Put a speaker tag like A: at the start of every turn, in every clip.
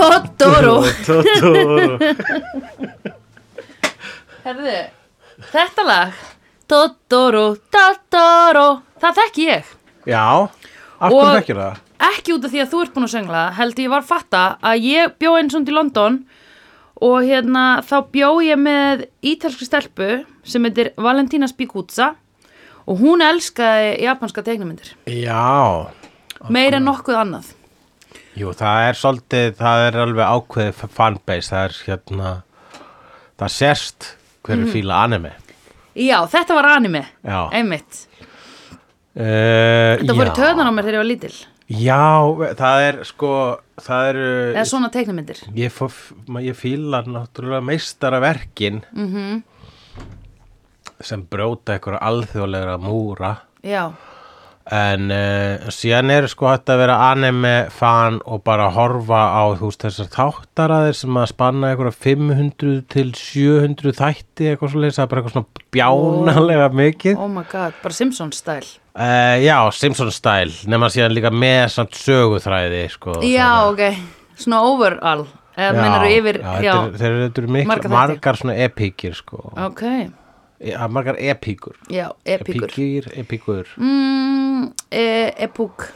A: Tóttó
B: Herðu, þetta lag Dotoro, Dotoro Það þekki ég
C: Já, af hverju
B: Og-
C: þekkir það?
B: Ekki út af því að þú ert búin að söngla það, Held ég var að fatta að ég bjó eins og í London Og hérna þá bjó ég með ítalski stelpu Sem heitir Valentina Spikuzza Og hún elskaði japanska teiknumyndir
C: Já,
B: Meir en nokkuð annað
C: jú, það er svolítið, það er alveg ákveðið f- fanbase, það er hérna, það sérst hverju
B: Mhm.
C: fíla anime.
B: Já, þetta var anime
C: Já.
B: Einmitt
C: Uh,
B: Þetta fór í töðan á mér þegar ég var lítil
C: Já, það er sko, það eru,
B: Eða svona teiknumyndir
C: ég, fó, ma- ég fíla náttúrulega meistaraverkin -hmm.
B: Mhm.
C: sem brjóta einhverja alþjóðlegra múra.
B: Já,
C: En uh, síðan er sko hægt að vera anime fan og bara horfa á þú veist þessar þáttaraðir sem að spanna einhverja 500 til 700 þætti eitthvað svo það er bara eitthvað svona bjánalega mikið.
B: oh my god, bara Simpsons style
C: Uh, já, Simpsons style, nema síðan líka með samt söguþræði sko.
B: Já, ok, svona overall eða mennur yfir,
C: já,
B: já,
C: þetta eru- þeir eru- þetta eru
B: Marga
C: mikla,
B: þætti.
C: margar svona epíkir sko,
B: ok
C: e, margar epíkur,
B: já, epíkur
C: epíkir, epíkur,
B: mm, e, epúk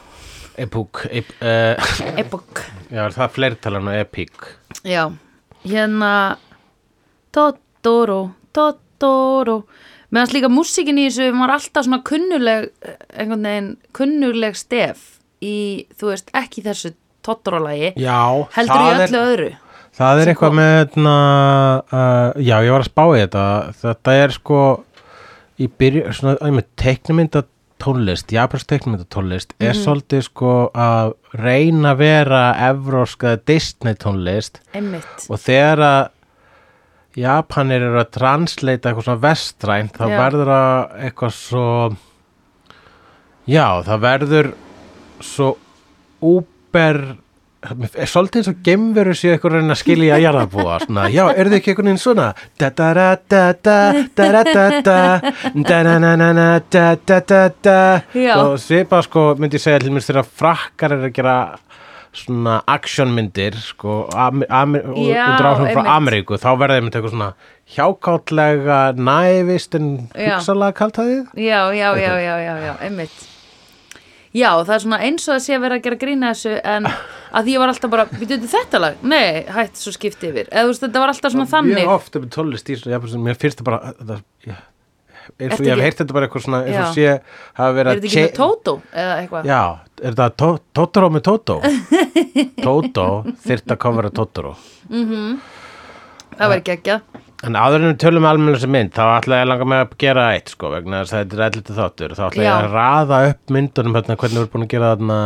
C: epúk, ep, uh,
B: epúk,
C: já það er fleirtalan og epík.
B: já hérna Totoro, Totoro meðan líka músikin í þessu var alltaf svona kunnuleg einhvern veginn, kunnuleg stef í, þú veist, ekki þessu Totoro-lagi,
C: Já,
B: heldur í öllu
C: það er,
B: öðru
C: Það er
B: sem
C: eitthvað
B: kom.
C: með na, uh, Já, ég var að spá í þetta Þetta er sko í byrju, svona, einmitt, teiknumynda tónlist, japansk teiknumynda tónlist er
B: Mhm.
C: svolítið sko að reyna að vera evróska Disney tónlist
B: einmitt,
C: og þegar að Japanir eru að translate eitthvað svona vestræn þá
B: Já.
C: verður að eitthvað svo já, það verður svo úber er svolítið eins og gemveru séu eitthvað reyna að skilja að jarðabúa svona, já, eru þið ekki einhvern veginn svona da da da da da da da da da da na na na na da da da da
B: Já.
C: og svipa sko, myndi ég segja til mér þegar frakkar eru að gera svona actionmyndir sko, Amer, Amer, og
B: Já,
C: undir áhrifum frá
B: einmitt.
C: Ameríku þá verða þeim eitthvað svona hjákátlega nævist en
B: Já.
C: hugsalega kalt að þið
B: já, já, já, já, já, já, einmitt Já, það er svona eins og það sé að vera að gera grína þessu en að því ég var alltaf bara, við veitum þetta lag? Nei, hætt, svo skipti yfir eða þú veist, þetta var alltaf svona þannig
C: mjög ofta með tólest í svona japansum mér finnst það bara það, ég, eins
B: Ertu
C: og ég hef
B: ekki-
C: heyrt þetta bara eitthvað svona eins og
B: Já.
C: sé hafa
B: Er
C: verið
B: þetta ekki með
C: cha-
B: Tótó eða eitthvað?
C: Já, er þetta tó, Totoro með Tótó? Tótó þyrft að koma vera Totoro
B: Það væri geggjað
C: En áður en við tölum almenna sem mynd þá ætla ég að langa með að gera eitt sko vegna þess að þetta er ætlita þáttur þá ætla ég
B: Já.
C: að raða upp myndunum hérna, hvernig við erum búin að gera þarna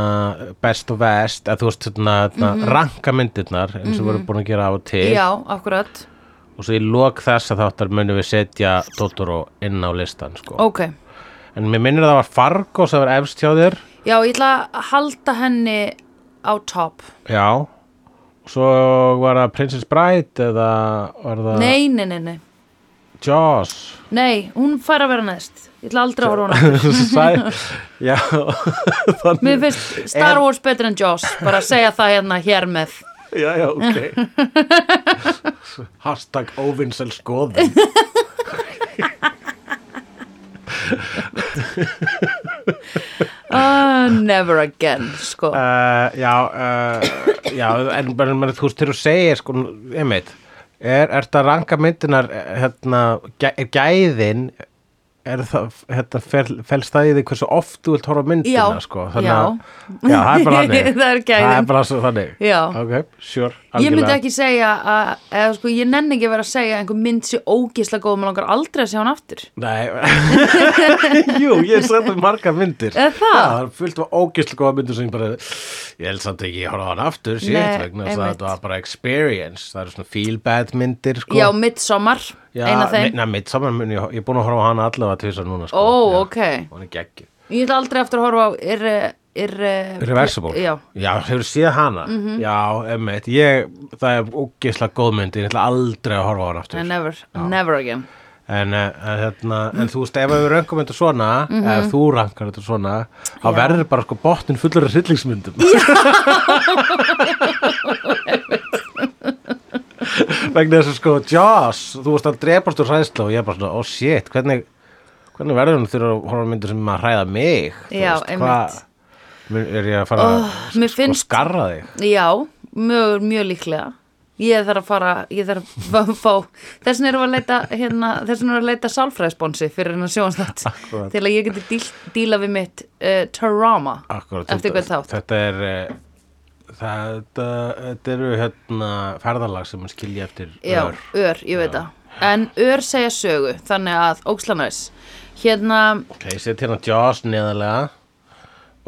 C: best og vest að þú veist hérna, hérna ranka myndirnar eins og við erum búin að gera á og til
B: Mhm. Já, akkurat
C: og svo í lok þess að þáttar munum við setja Totoro inn á listan sko
B: Ok
C: en mér minnir að það var Fargo sem var efst hjá þér
B: Já, ég ætla að halda henni á top
C: já svo var það Princess Bride eða var það
B: Nei, nei, nei, nei
C: Jaws
B: Nei, hún fær að vera næst Ég ætla aldrei að horfa á hana
C: Sæ, já þannig
B: Mér finnst Star
C: Er-
B: Wars betur en Jaws bara að segja það hérna hér með
C: Já, já, ok Hashtag óvinnsel skoðun
B: uh, Never again, sko
C: uh, Já, uh, já en bara maður þú veist til að segja sko, einmitt, er, er þetta ranka myndunar hérna, gæ, er gæðin er það, hérna, fel, felst það í því hversu oft þú vilt horfa á myndina
B: Já,
C: sko, þannig að- já, það er bara þannig
B: Það er gæðin.
C: Það er bara svo þannig
B: Já.
C: Ok, sure,
B: Ég myndi
C: algjörlega.
B: ekki segja að, eða sko, ég nenni ekki að vera að segja að einhver mynd sé ógísla góð og maður langar aldrei að sjá hann aftur.
C: Nei, jú, ég sendi margar myndir
B: Er það?
C: Já, það er fullt af ógislega góða myndir sem ég bara Ég held samt ekki, ég horfa á hann aftur síðan
B: Nei,
C: vegna þess að
B: einmitt.
C: þetta var bara experience Það eru svona feel bad myndir sko.
B: Já, Midsommar,
C: Já,
B: eina af
C: mi-
B: þeim.
C: Nei, mitt saman mun, ég, ég er búin að horfa á hana allavega tvisar núna sko.
B: Ó,
C: Já,
B: ok.
C: Hún er geggjum
B: Ég ætla aldrei aftur að horfa á ir, ir,
C: Reversible?
B: Já,
C: hefur séð hana?
B: Mhm.
C: Já, emmitt, ég, það er ógislega góð myndir, ég ætla aldrei að horfa á hana aftur
B: en never, never again.
C: En, eh, en, hérna, en þú veist, ef við röngum þetta svona, ef þú rankar þetta svona, þá
B: Mhm. Já.
C: verður bara sko botnin fullur af hryllingsmyndum. vegna þess að sko, Jaws, þú varst að drepast úr hræðsla og ég bara svona, oh shit, hvernig hvernig verður hún þegar að horfa á myndir sem að hræða mig Þú
B: Já,
C: hvað- mun- er ég að fara
B: Oh, mér
C: að sko,
B: finnst-
C: skarra þig
B: Já, mjög, mjög líklega Ég þarf að fara, ég þarf að fá Þessin erum við að leita hérna, Þessin erum við að leita sálfræðsponsi fyrir hennar sjónstætt
C: Akkúrat.
B: Til að ég geti díl, díla við mitt uh, Tarama
C: Akkurat,
B: Eftir hvern þátt
C: þetta er eh, þetta, þetta eru hérna ferðalag sem hann skilja eftir
B: Já,
C: ör.
B: ör, ég veit það En ör segja sögu, þannig að ókslanæs Hérna,
C: ok, ég set hérna Jaws neðalega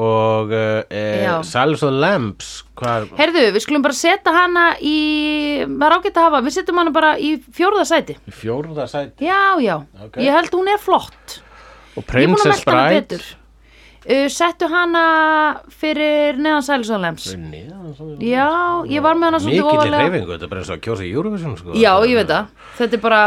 C: og uh, e,
B: Já.
C: Silence of the Lambs hvað er
B: heyrðu, við skulum bara setja hana í Það er ágætt að hafa, við setjum hana bara í fjórða sæti
C: í fjórða sæti
B: Já, já,
C: Ok.
B: ég held hún er flott Ég er búin
C: og
B: að
C: Princess
B: melda hana
C: Bride
B: betur uh, Settu hana fyrir neðan sælisónlems
C: Mikið
B: Já, ég var með hana svolítið
C: í
B: ofalega
C: hreyfingu, þetta er bara eins og að kjósa í Eurovision sko.
B: Já, ég veit það Þetta er bara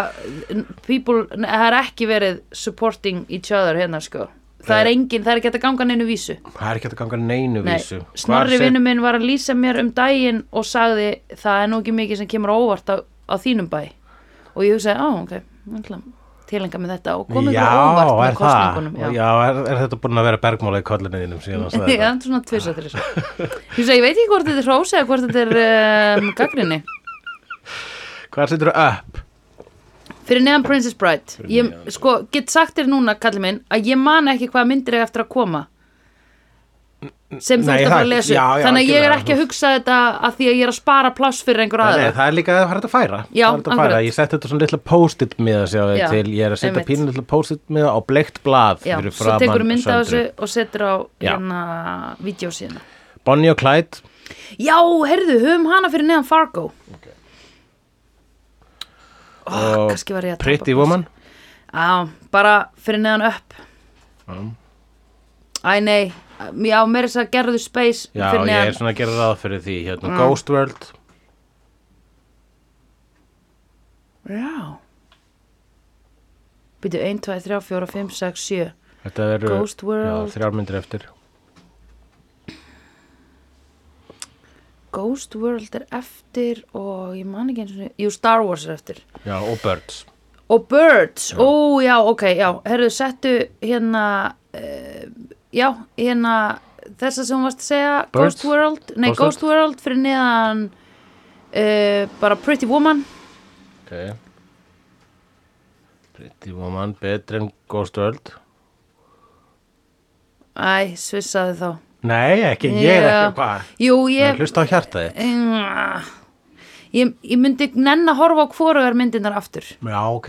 B: n- people, n- það er ekki verið supporting each other hérna sko Það er engin, það er ekki hægt að ganga neinu vísu
C: Það er ekki hægt að ganga neinu
B: Nei,
C: vísu Hvar
B: Snorri
C: set-
B: vinnu minn var að lýsa mér um daginn og sagði það er nú ekki mikið sem kemur á óvart á, á þínum bæ og ég hugsaði, á, ok, ég ætla að tilenga með þetta og komið
C: Já,
B: mér á óvart með
C: er það
B: kostningunum
C: Já, er, er þetta búin að vera bergmála í kollinu þínum síðan að
B: Já,
C: segja
B: svona tvisvar til þess Ég segi, ég veit ekki hvort þetta er hrós eða hvort þetta er um, gaggrinni
C: þetta Hvað setur þú upp?
B: Fyrir neðan Princess Bride ég, Sko, get sagt þér núna, kalli minn að ég man ekki hvað myndir ég eftir að koma sem þú ert
C: Nei,
B: að
C: það-
B: fara að lesa upp.
C: já, já,
B: Þannig að ég er
C: algjörlega.
B: ekki að hugsa þetta að því að ég er að spara pláss fyrir einhver
C: Nei,
B: aðra
C: það er líka hægt að færa,
B: Já,
C: það er hægt að færa.
B: akkurat.
C: Ég setti þetta svona litla post-it miða sjá
B: Já,
C: þið til Ég er að setja
B: einmitt.
C: pínu litla post-it miða á bleikt blað
B: Já,
C: fyrir
B: svo tekur
C: framan
B: mynd af þessu
C: Söndru.
B: og setur á
C: Já.
B: hérna vídeosíðuna
C: Bonnie og Clyde
B: Já, heyrðu, höfum hana fyrir neðan Fargo Ó,
C: Og
B: Ah, kannski var ég að tapa
C: Pretty
B: pláss.
C: Woman
B: Já, bara fyrir neðan upp Æ, nei Já, meira þess að gerðu space
C: Já,
B: fyrir
C: ég
B: neðan
C: er svona að gera ráð fyrir því hérna,
B: Mm.
C: Ghost World
B: Já Býtu 1, 2, 3, 4, 5, 6, 7
C: Þetta eru
B: Ghost World.
C: já, þrjár myndir eftir
B: Ghost World er eftir og ég man ekki eins og Jú, Star Wars er eftir
C: Já, og Birds
B: Og Birds, ó já, ok, já Herðu, settu hérna uh, Já, hérna Þessa sem hún varst að segja
C: Birds?
B: Ghost World, nei,
C: Ghost
B: Ghost World fyrir neðan uh, bara Pretty Woman
C: Ok Pretty Woman, betri en Ghost World
B: Æ, svissaði þá
C: Nei, ekki, ég er
B: Já.
C: ekki hvað
B: Jú,
C: Ég
B: ég
C: hlusta á hjartaði
B: Mm, Ég, ég myndi nenn að horfa á hvorugar myndinar aftur
C: Já, ok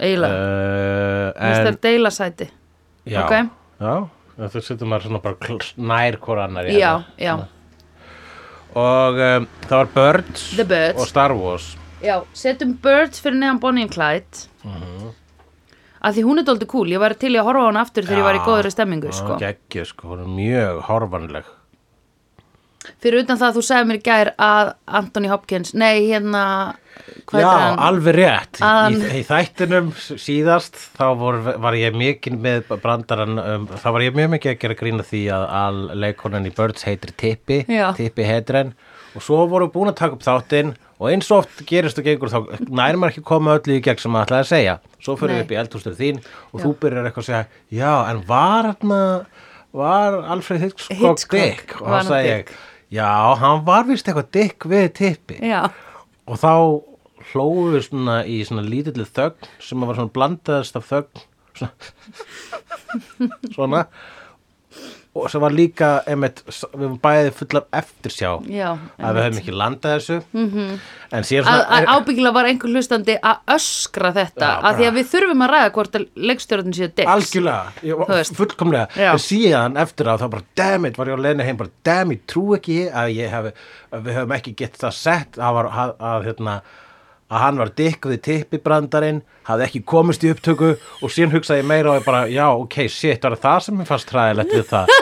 B: eiginlega,
C: uh,
B: uh, það
C: En,
B: er deila sæti
C: já
B: ok.
C: Já, þú setur maður svona bara kl- nær hvora annar í
B: já,
C: hennar.
B: já,
C: Og um, það var Birds
B: The Birds.
C: Og Star Wars
B: já setjum Birds fyrir neðan Bonnie and Clyde uh
C: Mhm.
B: að því hún er dóldi cool ég var til í að horfa á hana aftur þegar ég var í
C: Já.
B: góðri stemmingu
C: Já,
B: sko.
C: Geggju, sko, hún er mjög horfanleg
B: fyrir utan það að þú sagði mér í gær að Anthony Hopkins, nei hérna hvað
C: Já,
B: er hann?
C: alveg rétt
B: Að
C: í, í þættinum s- síðast þá vor, var ég mikið með brandaran um, þá var ég mjög mikið að gera grína því að all leikonan í Birds heitir Tippi
B: Já.
C: Tippi heitren og svo voru við búin að taka upp þáttinn og eins og oft gerist og gengur þá nær maður ekki að koma öllu í gegn sem maður ætlaði að segja svo fyrir
B: Nei.
C: við upp í eldhústur þín og þú byrjar eitthvað að segja já, en var hérna var Alfred Hitchcock,
B: Hitchcock,
C: Dick og
B: var
C: þá
B: hann
C: sagði
B: Dick?
C: ég já, hann var vist eitthvað Dick við Tippi
B: já,
C: og þá hlóðum við svona í svona lítilli þögn sem var svona blandaðist af þögn svona, svona og sem var líka einmitt, s- við varum bæði fullar eftirsjá
B: já
C: að við höfum ekki landað þessu -hmm. en síðan
B: að,
C: svona
B: að ábyggilega var einhver hlustandi að öskra þetta,
C: Já,
B: að því að
C: bara-
B: við þurfum að ræða hvort að leikstjórnum séu dicks
C: algjörlega, ég,
B: Þú veist.
C: fullkomlega
B: Já.
C: en síðan eftir að þá bara damn it, var ég á leiðinu heim, bara damn it, trú ekki að, ég hef, að við höfum ekki gett það sett að, var, að, að hérna að hann var dikk við tippibrandarinn hafði ekki komist í upptöku og síðan hugsaði ég meira og ég bara, já, ok, shit var það sem mér fannst hræðilegt við það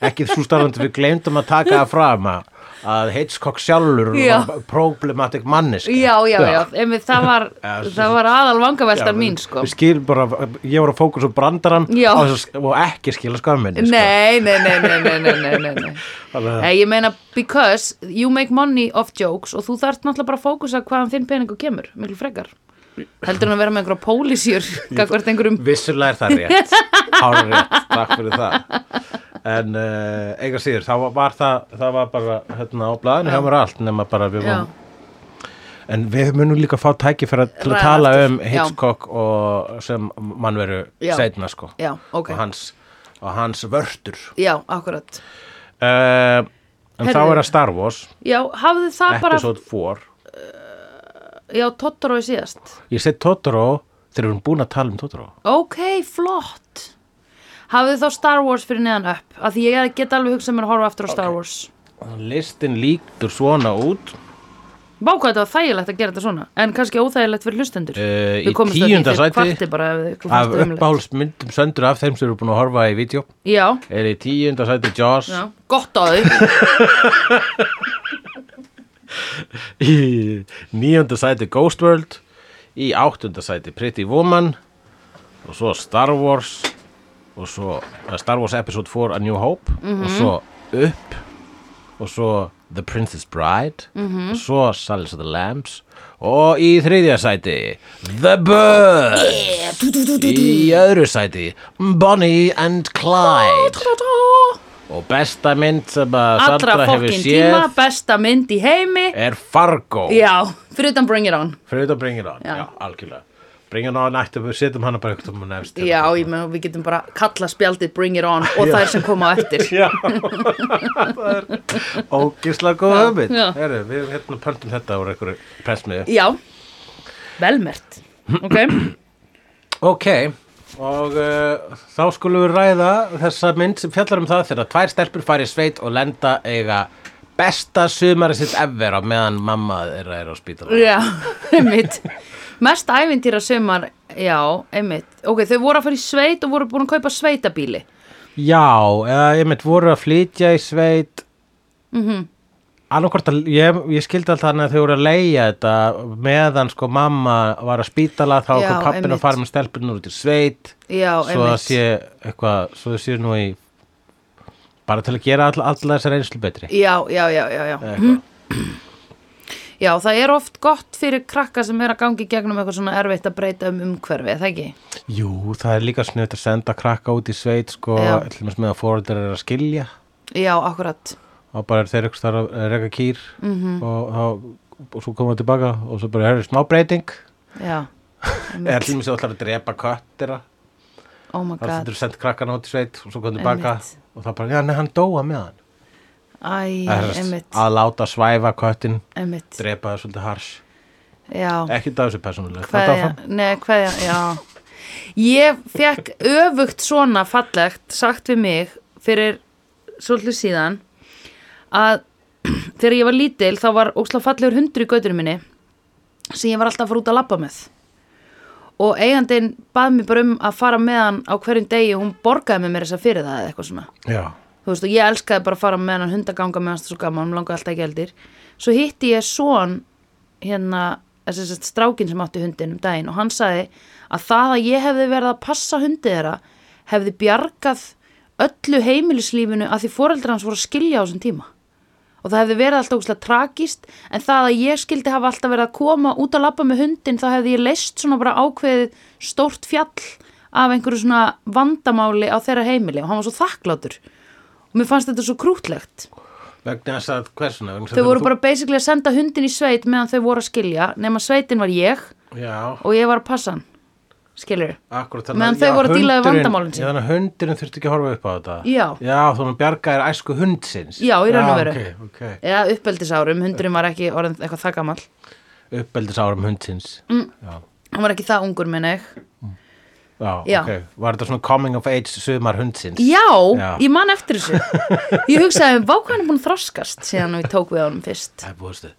C: ekki svo starfandi við gleymdum að taka það fram að að Hitchcock sjálfur
B: Já.
C: var problematic mannisk
B: já, já, já, einmitt það var,
C: Já,
B: það var aðal vangaveltar mín sko
C: Við skil bara, ég var að fókus á brandaran
B: Já.
C: á þessu- og ekki skila sko. skamminni
B: Nei, nei, nei, nei, nei, nei, nei, nei, nei.
C: Þannig að-
B: Nei, ég meina because you make money off jokes og þú þarft náttúrulega bara að fókusa hvaðan þinn peningu kemur, miklu frekar heldur en að vera með einhverja pólísjur gagvart einhverjum
C: Vissulega er það rétt Hára rétt, takk fyrir það En uh, eiga síður þá var það, það var bara hérna á blaðinu hjá mér allt nema bara við
B: já,
C: varum En við munum líka fá tækifæra til að
B: Ræða
C: tala
B: aftur,
C: um
B: já.
C: Hitchcock og sem mannveru
B: Já.
C: seinna sko
B: já, ok
C: og, hans, og hans vörtur
B: já, akkurat
C: uh, En þá
B: Heyrðu.
C: er að Star Wars
B: já, hafðu það bara,
C: episode 4
B: já, Totoro í síðast
C: Ég segi Totoro þegar við erum búin að tala um Totoro
B: ok, flott hafðu þá Star Wars fyrir neðan upp af því ég get alveg hugsað mér að horfa aftur á Star Wars
C: Listin líktur svona út
B: Vá hvað þetta var þægilegt að gera þetta svona en kannski óþægilegt fyrir hlustendur
C: Eh,
B: Við
C: í
B: komumst að því,
C: tíunda
B: þið
C: sæti
B: kvartið bara ef þið- ykkur fannst
C: af
B: það ömurlegt.
C: uppáhalsmyndum söndur af þeim sem eru búin að horfa í vídeo
B: Já,
C: er í tíunda sæti Jaws
B: já, gott á þau
C: í níunda sæti Ghost World í áttunda sæti Pretty Woman og svo Star Wars og svo eh, Star Wars Episode 4 A New Hope og svo Upp og svo The Princess Bride
B: Mhm.
C: og svo Silence of the Lambs og í þriðja sæti The Birds í öðru sæti Bonnie and Clyde og besta mynd sem að Sandra
B: Allra
C: hefur
B: fokkin tíma,
C: séð Eh.
B: besta mynd í heimi
C: er Fargo
B: Já, fyrir utan Bring It On
C: fyrir auðvitað bringin án, já.
B: Já.
C: já, algjörlega bringin án ættum við setjum hana bara eitthvað um nefnst
B: Já, ég meina við getum bara kalla spjaldið Bring It On og þær sem koma á eftir
C: já það er ógislega góð höfmynd
B: já.
C: Heru, við hérna pöntum þetta úr einhverju pressmiði
B: Já, velmert Ok,
C: ok, og uh, þá skulum við ræða þessa mynd sem fjallar um það þegar tvær stelpur fari í sveit og lenda eiga besta sumari sitt ever á meðan mamma þeirra er á spítala
B: já, einmitt Mest ævintýra sumar, já, einmitt Ok, þau voru að fara í sveit og voru búin að kaupa sveitabíli
C: Já, eða ég mynd voru að flytja í sveit
B: Mhm.
C: mm -hmm. ég, ég skildi alltaf þannig að þau voru að leigja þetta meðan sko mamma var að spítala þá
B: Já,
C: okkur pappin að
B: einmitt.
C: fara með stelpunur út í sveit
B: Já,
C: svo það
B: einmitt
C: sé eitthvað, svo það sé nú í bara til að gera all, allar þessar einslu betri
B: Já, já, já, já, já
C: Eitthvað.
B: Já, það er oft gott fyrir krakka sem er að gangi gegnum eitthvað svona erfitt að breyta um umhverfi, er það ekki?
C: Jú, það er líka snöðt að senda krakka út í sveit sko,
B: Já.
C: til dæmis með að fóreldar er að skilja
B: Já, akkurat
C: og bara er þeir eitthvað þar að reka kýr
B: Mhm.
C: -hmm. og, og, og svo koma tilbaka og svo bara er smá breyting
B: Já,
C: eða til og með sem þú ætlar að drepa köttira
B: oh my
C: þar sem
B: god
C: þú sendt krakkana út í sveit og svo kom tilbaka
B: Einmitt.
C: og það bara, já, nei, hann dóa með hann
B: Æ,
C: Það er sem sagt
B: einmitt,
C: að láta svæfa köttin
B: einmitt
C: drepa það svolítið hars
B: Já,
C: ekki það þessu persónulega
B: hverja, nei, hverja, já Ég fekk öfugt svona fallegt sagt við mig fyrir svolítið síðan að þegar ég var lítil þá var ósla fallegur hundur í gauturinn minni sem ég var alltaf að fara út að labba með og eigandinn bað mér bara um að fara með hann á hverjum degi og hún borgaði með mér þess að fyrir það eða eitthvað svona
C: já,
B: þú veist og ég elskaði bara að fara með hann hundaganga með hans svo gaman, hann langaði alltaf ekki eldir svo hitti ég son hérna, þess að strákin sem átti hundin um daginn og hann sagði að það að ég hefði verið að passa hundi þeirra hefði bjargað öllu heimilislífinu að því foreldrar hans voru að skilja á þessum tíma og það hefði verið alltaf ógustlega tragist en það að ég skildi hafa alltaf verið að koma út að labba með hundin þá hefði ég leist svona bara ákveðið stórt fjall af einhverju svona vandamáli á þeirra heimili og hann var svo þakklátur og mér fannst þetta svo krútlegt
C: vegna þess að hversuna
B: þau voru bara basically að senda hundin í sveit meðan þau voru að skilja nema sveitin var ég
C: já,
B: og ég var að passa hann skilur
C: akkurat
B: Meðan þau
C: já,
B: voru að díla við
C: hundurinn-
B: vandamálin sín.
C: já, þannig að hundurinn þurfti ekki að horfa upp á þetta
B: Já.
C: já þú hann bjargaðir æsku hundsins
B: Já, í raun og veru.
C: ok, ok.
B: eða uppeldisárum, hundurinn var ekki orðin eitthvað það gamall
C: uppeldisárum hundsins mm. já.
B: hann var ekki það ungur minna ég
C: Já,
B: Já.
C: ok var þetta svona coming of age sumar hundsins
B: já,
C: Já.
B: ég man eftir þessu ég hugsaði, vá hvað hann er búin að þroskast síðan við tók við honum fyrst
C: I was the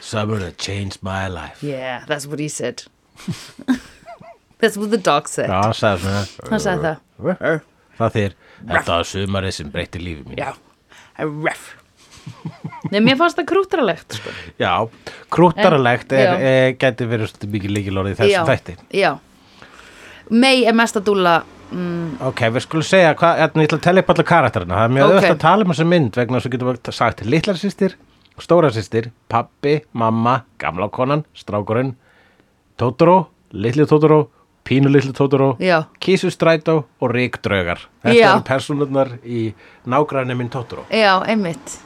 C: summer that changed my life
B: yeah, that's what he said that's what the dog said
C: Já, hann sagði svona
B: hann sagði það
C: Það þýr, þetta var sumarið sem breytti lífið mín
B: já, ruff Nei, mér fannst það krútralegt sko.
C: Já, krúttaralegt er,
B: En- já.
C: er, gæti verið svolítið mikið líkilorðið í
B: Já,
C: þessum þætti.
B: Já May er mest að dúlla mm,
C: Ok, við skulum segja hvað, hérna, ég ætla að tella upp alla karakterina. Það er mjög
B: Ok.
C: okay. að tala um þessa mynd vegna þess að getum við sagt litlar sýstir, stóra sýstir, pappi, mamma, gamla konan, strákurinn, Totoro, litli Totoro, pínu litli Totoro,
B: Já.
C: kísustrætó og ríkdraugar. Þetta
B: Já.
C: eru personurnar í nágræni minn Totoro.
B: Já, einmitt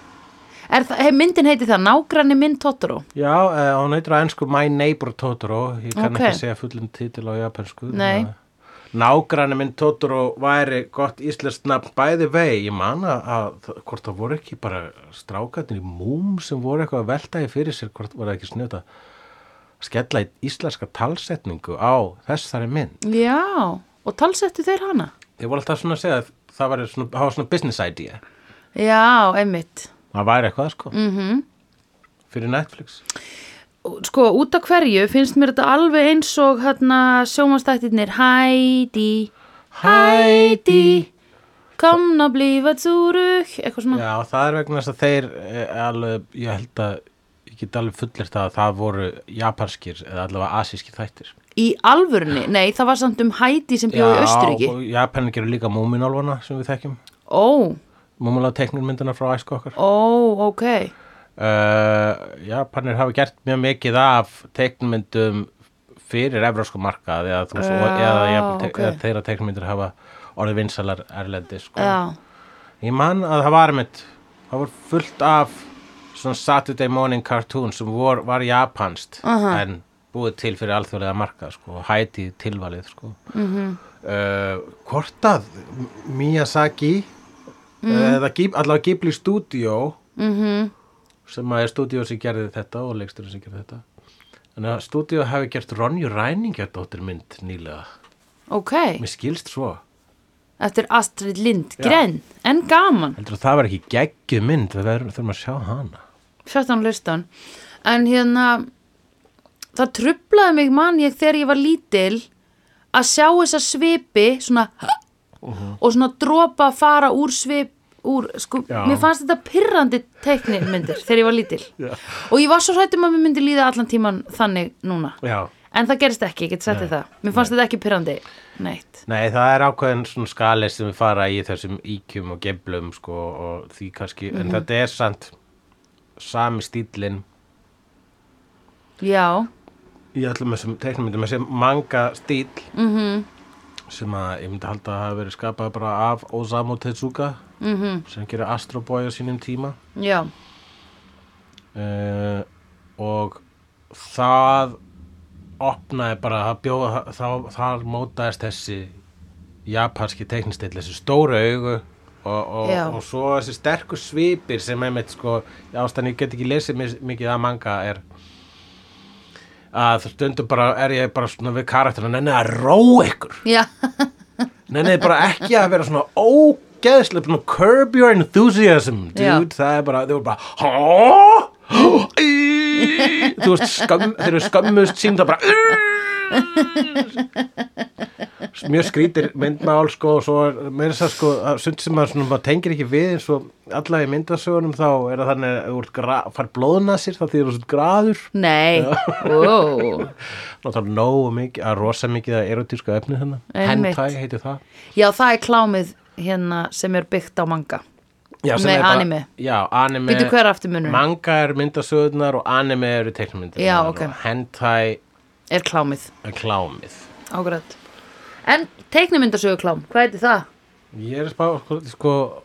B: er það, hef, Myndin heiti það Nágranni minn Totoro
C: Já, uh, hún heitir á ennsku My Neighbor Totoro, ég kann
B: Ok.
C: ekki segja fullum titil á japansku.
B: Nei.
C: þannig að- Nágranni minn Totoro væri gott íslenskt nafn bæði vei, ég man að, að hvort það voru ekki bara strákarnir í múm sem voru eitthvað að velta í fyrir sér, hvort voru það ekki snjóta skella í íslenska talsetningu á þessari mynd.
B: Já, og talsettu þeir hana
C: Ég voru alltaf svona að segja að það var svona, það var svona business idea,
B: Já, einmitt
C: það væri eitthvað sko, mm -hmm.
B: Mhm.
C: fyrir Netflix.
B: Sko, út af hverju finnst mér þetta alveg eins og hérna sjómanstættirnir Heidi, Heidi Komna blífa zúrug Eitthvað svona
C: Já, það er vegna þess að þeir eh, alveg, ég held að ég get alveg fullert að það voru japanskir eða allavega asískir þættir
B: Í alvörunni, nei, það var samt um Heidi sem bjóði Östuríki
C: og Japanar gerur líka múminálfana sem við þekkjum
B: Ó,
C: múminálf teknirmyndina frá æsku okkar
B: ó, ok
C: uh, Japanir hafa gert mjög mikið af teknmyndum fyrir evrósku markaði eða, þú, svo,
B: Já,
C: eða, jafnvel te-
B: ok.
C: eða þeirra teknmyndir hafa orðið vinsalar erlendi sko.
B: Já,
C: Ég man að það var mitt, það var fullt af svona Saturday morning cartoon sem vor, var japanst
B: Aha.
C: en búið til fyrir alþjóðlega marka sko, og hæti tilvalið sko. Mm hvort að Miyazaki eh, eða gíb, allavega Ghibli Studio sem að er stúdíó sem gerði þetta og leiksturinn sem gerði þetta en að stúdíó hafi gert Ronju Ræningjardóttir mynd nýlega
B: ok,
C: mér skilst svo
B: eftir Astrid Lindgren, en gaman,
C: heldur að það var ekki geggjuð mynd við verðum- þurfum að sjá hana
B: 17 hlustan, en hérna, það trublaði mig mann ég þegar ég var lítil að sjá þessa svipi, svona, og svona dropa fara úr svip, úr, sko,
C: Já.
B: mér fannst þetta pirrandi teiknimyndir þegar ég var lítil og ég var svo hrættum að mér myndi líða allan tíman þannig núna,
C: Já.
B: en það gerist ekki, ég get sett þetta, mér fannst þetta ekki pirrandi, neitt,
C: Nei, það er ákveðin svona skalið sem við fara í þessum íkjum og geblum sko og því kannski, en þetta er samt sami stílinn
B: já,
C: í allum þessum teiknumyndum, þessi manga stíl -hmm. sem að ég myndi halda að hafa verið skapað bara af Osamu Tezuka -hmm. sem gerir Astro Boy á sínum tíma
B: já,
C: uh, og það opnaði bara það bjóð, það, það mótaðist þessi japanski teiknistil þessi stóru augu og, og,
B: Já.
C: og svo þessi sterku svipir sem einmitt sko, ástæðan ég get ekki lesið mis- mikið að manga er að stundum bara er ég bara svona við karakterna nennið að róa ykkur
B: já,
C: nennið bara ekki að vera svona ógeðslega svona curb your enthusiasm dude,
B: Já.
C: það er bara, þau voru bara "Há? Í?" þú veist, skömm, þeir eru skömmust sín það bara "Í?" mjög skrítir myndmál sko og svo er meira þess að sko að sumt sem maður svona maður tengir ekki við eins og alla í myndasögunum þá er það þannig að þú ert gra- fær blóðnasir þá því þú ert graður
B: Nei, ó,
C: náttúrulega nógu mikið, að rosa mikið að erotíska efni þannig,
B: Einmitt.
C: hentai heitir það
B: já það er klámið hérna sem er byggt á manga.
C: já, sem
B: Með
C: er bara-
B: anime.
C: já, anime
B: Býtu hver aftur munur?
C: manga er myndasöðunar og anime eru teiknumyndir
B: Já, ok.
C: hentai
B: er klámið,
C: er klámið
B: ágrætt. En teiknumyndasögu klám, hvað heitir það?
C: ég er að spá sko, sko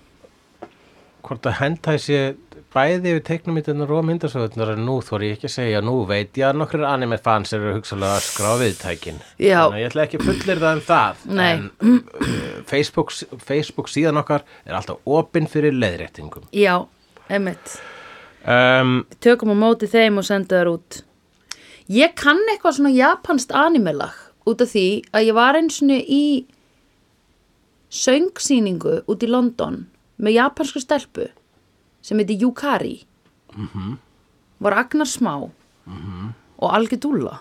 C: hvort að hentai sé bæði yfir teiknumyndirnar og myndasöðunar en nú þóri ég ekki að segja nú veit ég að nokkrir anime fans eru hugsalega að skrá viðtækin
B: Já.
C: Þannig að ég ætla ekki að fullir það um það
B: Nei.
C: en uh, Facebook, Facebook síðan okkar er alltaf opin fyrir leiðréttingum
B: Já, emmitt.
C: um,
B: Við tökum á móti þeim og sendum þær út. Ég kann eitthvað svona japanskt animelag út af því að ég var eins og í söngsýningu út í London með japansku stelpu sem heiti Yukari. Var agnar smá og algjör dúlla.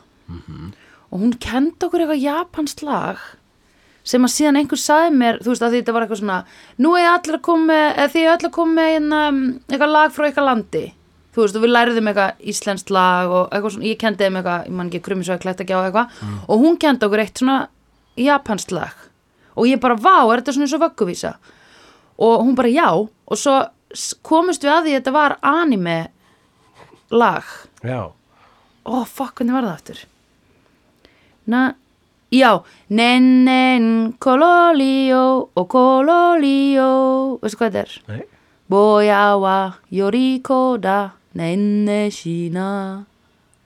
B: Og hún kendi okkur eitthvað japanskt lag sem að síðan einhver sagði mér þú veist að því þetta var eitthvað svona nú er allir að koma með, eða þið er allir að koma með hérna, eitthvað lag frá eitthvað landi þú veist og við læriðum eitthvað íslenskt lag og eitthvað svona, ég kendi þeim eitthvað ég man ekki krummi svo að klætt að gjá eitthvað og hún kendi okkur eitt svona japanskt lag og ég bara vá, er þetta svona svo vögguvísa og hún bara já og svo s- komumst við að því að þetta var anime lag
C: já,
B: ó, fuck, hvernig var það aftur na, já nen, nen, kololíó og kololíó veistu hvað þetta er?
C: nei,
B: bojawa, yorikoda nenne shina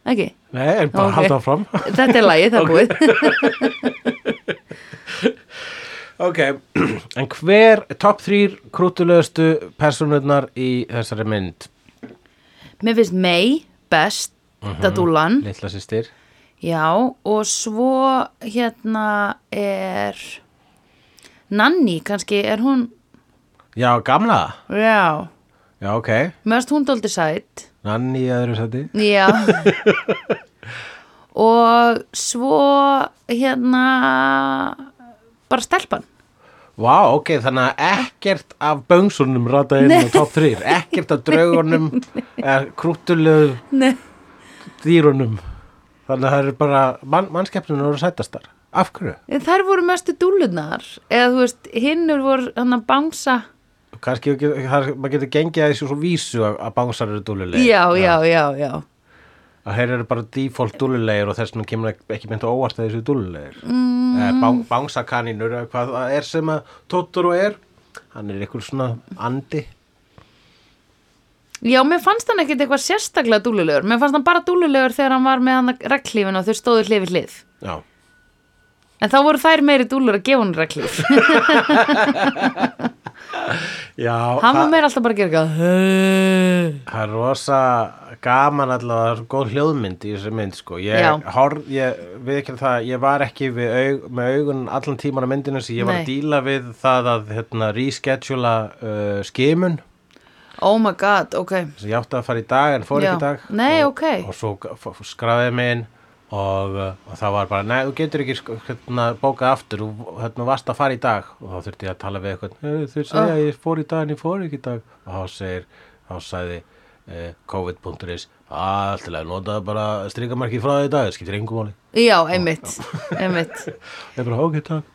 B: ekki,
C: nei en bara
B: Ok.
C: halda áfram
B: þetta er lagið, það er búið
C: ok, en hver top 3 krútulegustu personurnar í þessari mynd
B: mér finnst mei best, mm dúlan
C: litla sýstir
B: Já, og svo hérna er Nanni, kannski er hún
C: já, gamla,
B: Já,
C: já, ok
B: mest hún dóldi sætt
C: nanni í öðru sæti
B: Já Og svo hérna bara stelpan
C: Vá, ok, þannig að ekkert af böngsunum rata inn á top 3 ekkert af draugunum eða krúttulegu
B: Nei.
C: dýrunum þannig að það eru bara mann, mannskeppnum eru sætastar af hverju?
B: En þær voru mestu dúlunar eða þú veist, hinnur voru hann að bangsa
C: kannski ekki- það er- maður getur gengið að þessu svo vísu að, að bánsar eru dúlulegir
B: Já, já, já, já
C: að þeir eru bara default dúlulegir og þess vegna kemur ek- ekki mynd á óvart að þessu dúlulegir mm. eða bán, bánsakaninur eða hvað það er sem að Totoro er hann er ykkur svona andi
B: Já, mér fannst hann ekkit eitthvað sérstaklega dúlulegur Mér fannst hann bara dúlulegur þegar hann var með hann reglífin og þau stóðu hlið við hlið
C: já,
B: En þá voru þær meiri dúlur að gefa hún reglur.
C: já
B: Hann var
C: það-
B: meira alltaf bara að gera eitthvað. "Hey."
C: Það er rosa gaman allavega, það er svo góð hljóðmynd í þessu mynd sko.
B: Já.
C: Ég, horf, ég, við ekki það, ég var ekki við aug, með augun allan tíman á myndinu sem ég var
B: Nei.
C: að díla við það að hérna, reschedula uh, skimun
B: Oh my god, ok.
C: sem ég átti að fara í dag en fór
B: Já.
C: ekki í dag.
B: Nei,
C: og,
B: ok.
C: Og svo g- f- f- skrafaði mig inn og, uh, og það var bara, nei, þú getur ekki sk- hérna, bókað aftur, þú hérna, varst að fara í dag og þá þurfti ég að tala við eitthvað, þau segja
B: Oh.
C: að ég fór í dag en ég fór ekki í dag og þá segir, þá sagði eh, covid.is, alltilega, notaðu bara strikamarkið frá því í dag, það skiptir engum máli.
B: Já, einmitt, einmitt.
C: Ég bara, ok, takk.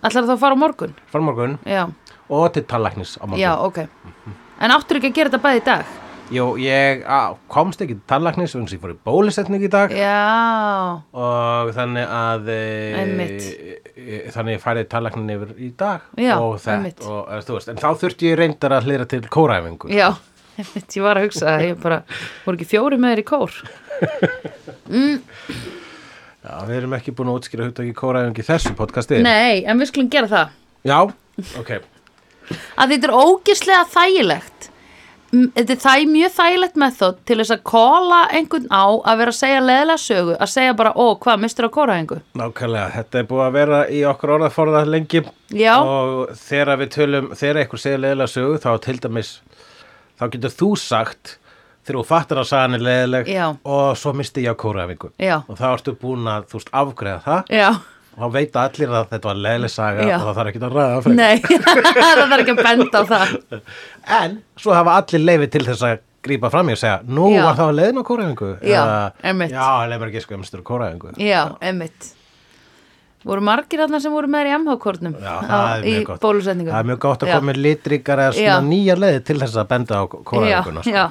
B: Ætlar þá að fara á morgun?
C: Fara á morgun
B: Já,
C: og til tallæknis á morgun.
B: já, ok. En áttur ekki að gera þetta bæði í dag?
C: Jú, ég á, komst ekki til tallæknis vegna þess að ég fór í bólusetning í dag.
B: Já,
C: og þannig að e,
B: Einmitt.
C: e, e, þannig að ég færið talaknin yfir í dag
B: Já,
C: og
B: einmitt.
C: þetta og, e, þú veist, en þá þurfti ég reyndar að hlera til kóræfingu
B: já, einmitt, ég var að hugsa að ég bara, voru ekki fjóri með þér í kór?
C: Já, við erum ekki búin að útskýra hugtaki kóræfingu í þessu podcasti
B: Nei, en við skulum gera það.
C: Já, ok
B: Að þetta er ógislega þægilegt. M- Þetta er það mjög þægilegt method til þess að kóla einhvern á að vera að segja leðilega sögu, að segja bara, ó, hvað, mistur á kóraðingu?
C: Nákvæmlega, þetta er búið að vera í okkur orðaforða lengi
B: Já.
C: og þegar við tölum, þegar einhver segir leðilega sögu þá til dæmis, þá getur þú sagt þegar þú fattar að sagan er leðileg
B: Já.
C: og svo misti ég á kóræfingu
B: Já.
C: og þá ertu búin að, þú veist, afgreða það
B: Já.
C: og þá veit allir að þetta var leðileg saga
B: Já.
C: og það þarf ekki að ræða fyrir
B: Nei, það þarf ekki að benda á það
C: en svo hafa allir leifi til þess að grípa fram í og segja nú
B: Já.
C: var það að leiðin á kóraðingu
B: Já, einmitt.
C: já, leið mér ekki sko emstur á kóraðingu já,
B: Já, emmitt Voru margir þarna sem voru með þér í MH-kórnum
C: það er
B: í
C: mjög gott
B: bólusetningu
C: það er mjög gott að
B: Já.
C: koma með litryggar eða
B: Já.
C: svona nýja leiði til þess að benda á sko. kóraðinguna
B: Já,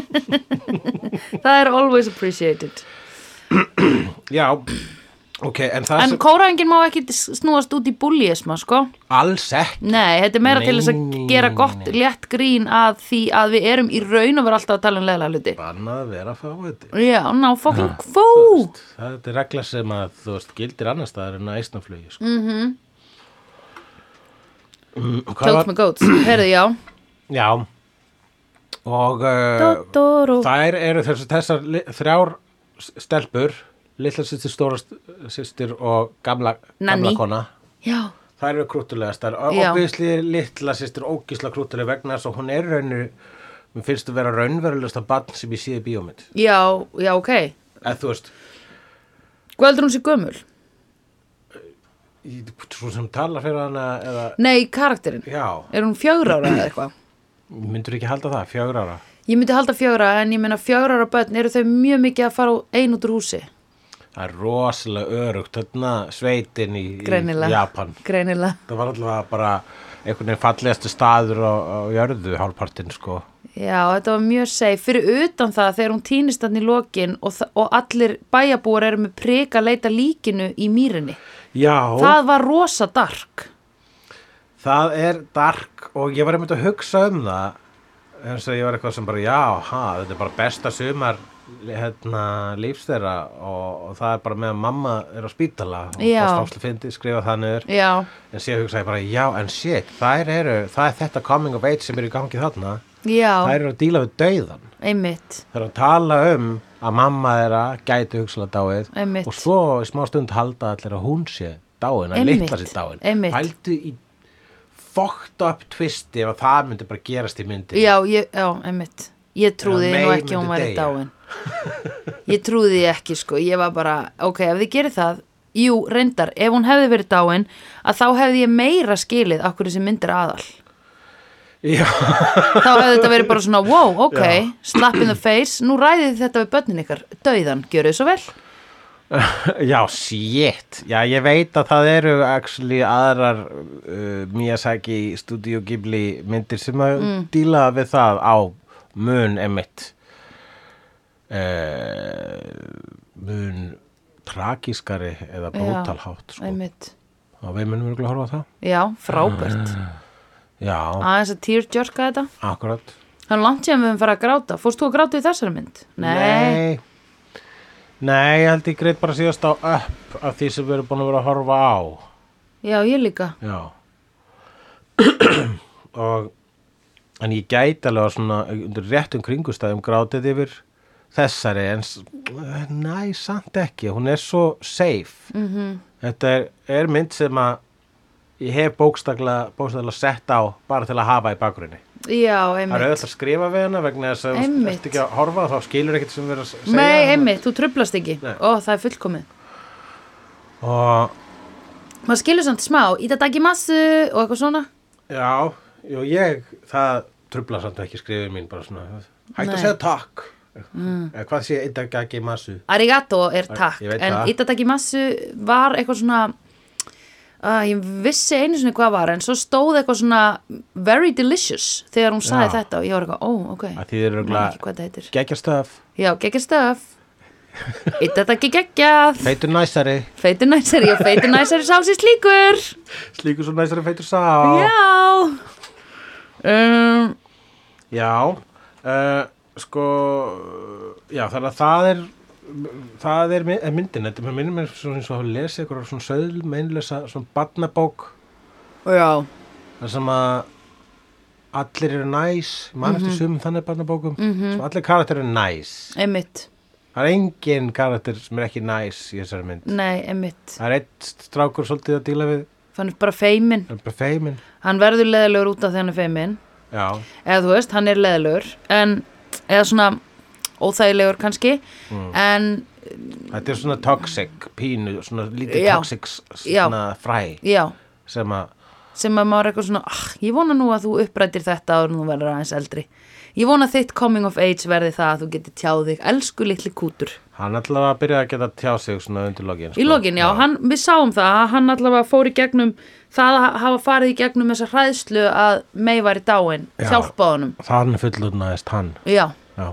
B: já. Það er always appreciated
C: já, ok, en það
B: En
C: sem
B: kóraðingin má ekki snúast út í búlíesma, sko
C: alls ekki
B: Nei, þetta er meira
C: Nei,
B: til þess að
C: nei,
B: gera
C: nei,
B: gott
C: nei.
B: létt grín að því að við erum í raun og vera alltaf að tala um leila hluti
C: bannað að vera fáviti
B: Já, ná, fucking kvó
C: það er regla sem að þú veist gildir annars staðar en að eisnaflugi sko. mm
B: Mhm.
C: -hmm.
B: Toast me goats, herðu, já
C: Já og uh,
B: Dódóru
C: þær eru þessar, þessar li- þrjár s- stelpur litla sýstir, stóra sýstir og gamla, gamla
B: Nanny.
C: kona
B: Já,
C: þær eru krúttulegastar og
B: Já.
C: ógisli litla sýstir ógisla krúttuleg vegna þess að hún er raunir mér finnst þú vera raunverulegasta barn sem ég sé í bíómynd
B: já, já, ok
C: eða þú veist
B: Hvað heldur hún sér gömul?
C: í- svo sem talar fyrir hana eða,
B: Nei, karakterinn.
C: já,
B: Er hún fjögur ára eða eitthvað?
C: myndur ekki halda það, fjögur ára
B: Ég myndi halda fjögur ára en ég meina fjögur ára börn eru þau mjög mikið að fara ein út úr húsi.
C: það er rosalega örugt þarna sveitin í, í
B: Greinilega.
C: Japan
B: Greinilega.
C: það var allavega bara einhvern veginn fallegastu staður á, á jörðu hálfpartinn sko
B: Já, þetta var mjög safe. Fyrir utan það þegar hún týnist hann í lokin og, þa- og allir bæjabúar eru með prika að leita líkinu í mýrinni.
C: já,
B: Það var rosa dark.
C: það er dark og ég var einmitt að hugsa um það eins og ég var eitthvað sem bara já, ha, þetta er bara besta sumar hérna, lífs þeirra og, og það er bara með að mamma er á spítala og
B: Já.
C: það stáðslega fyndi, skrifa það niður
B: Já,
C: en síðan hugsaði ég bara, já, en shit þær eru, það er þetta coming of age sem er í gangi þarna þær
B: já,
C: eru að díla við dauðan
B: einmitt,
C: þær eru að tala um að mamma þeirra gæti hugsalega dáið
B: einmitt.
C: og svo í smá stund halda allir að hún sé dáin, að
B: Einmitt,
C: litla sé dáin
B: einmitt.
C: pældu í fucked up twisti ef að það myndi bara gerast í myndi
B: Já, ég, já, einmitt. Ég trúði
C: Eða
B: nú
C: May
B: ekki að hún
C: myndi
B: væri
C: deyja.
B: dáin. Ég trúði því ekki, sko. Ég var bara, ok, ef þið gerir það, jú, reyndar, ef hún hefði verið dáin, að þá hefði ég meira skilið af hverju þessi myndir aðal.
C: já,
B: Þá hefði þetta verið bara svona, wow, ok,
C: Já.
B: slap in the face, nú ræðið þið þetta við börnin ykkar, dauðan, gjöru þið svo vel.
C: já, shit já, ég veit að það eru actually aðrar uh, Miyazaki Studio Ghibli myndir sem að
B: Mm.
C: díla við það á mun emitt uh, mun tragískari eða bótalhátt sko.
B: Einmitt.
C: og við munum við að horfa á það
B: Já, frábært.
C: já,
B: Aðeins að tearjerka þetta.
C: Akkurat.
B: Það er langt séðan við höfum farið að gráta. Fórst þú að gráta í þessari mynd? Nei.
C: Nei, Nei, ég held ég greit bara síðast á upp af því sem við erum búin að vera að horfa á.
B: Já, ég líka.
C: Já. og, en ég gæti alveg að svona undir réttum kringustæðum grátið yfir þessari en s- næ, samt ekki. Hún er svo safe.
B: Mm -hmm.
C: Þetta er, er mynd sem að ég hef bókstaklega, bókstaklega sett á bara til að hafa í bakgrunni.
B: Já, einmitt.
C: Það er auðvitað að skrifa við hana vegna þess að þú
B: Einmitt.
C: ert ekki að horfa þá skilur ekkert sem við erum að segja.
B: Nei, einmitt, þú trublast ekki
C: Nei.
B: Ó, það er fullkomið
C: Og
B: Maður skilur samt smá, itadakimasu og eitthvað svona
C: Já, jú, ég, það trubla samt ekki skrifið mín bara svona hægt að
B: Nei.
C: segja takk mm. eða hvað sé Itagaki Masu
B: Arigato er
C: Ar-
B: takk
C: ég veit
B: En
C: það.
B: itadakimasu var eitthvað svona uh, Ég vissi einu sinni hvað var En svo stóð eitthvað svona Very delicious þegar hún sagði
C: Já.
B: þetta Og ég var eitthvað, ó, ok
C: að því
B: Man ekki
C: þeir eru örugglega
B: hvað þetta heitir
C: geggjastöf,
B: Já, geggjað stöf Itadaki geggjað
C: feitur næsari
B: Feitur næsari, já, feitur næsari sási slíkur
C: slíkur svo næsari feitur sá
B: Já um,
C: Já, uh, sko já, þannig að það er það er, my- er myndin þetta er myndin mér svona eins og að lesa eitthvað svona söðl meinlösa, svona barnabók
B: Já,
C: þar sem að allir eru næs, mann
B: Mhm.
C: eftir sumum þannig barnabókum, mm sem allir karakter eru næs
B: einmitt
C: Það er engin karakter sem er ekki næs í þessari mynd.
B: Nei, einmitt.
C: Það er eitt strákur svolítið að díla við,
B: Hann er bara feimin.
C: það er bara feimin.
B: Hann verður leðilegur út af því hann er feimin.
C: Já,
B: Eða þú veist, hann er leðilegur. En, eða svona óþægilegur kannski. En,
C: þetta er svona toxic pínu, svona lítið
B: Já.
C: toxic s- svona fræ
B: já,
C: sem að,
B: sem að maður er eitthvað svona, ah, ég vona nú að þú upprættir þetta og nú verður aðeins eldri. Ég vona að þitt coming of age verði það að þú getur tjáð þig. Elsku litli kútur.
C: hann allavega byrjaði að geta tjá sig svona undir lokin. sko.
B: Í lokin, já, hann, við sáum það að hann allavega fór í gegnum, það að hafa farið í gegnum þessa hræðslu að mei var í dáin,
C: Já.
B: hjálpaði honum.
C: Þann fullutnaðist hann,
B: Já,
C: já.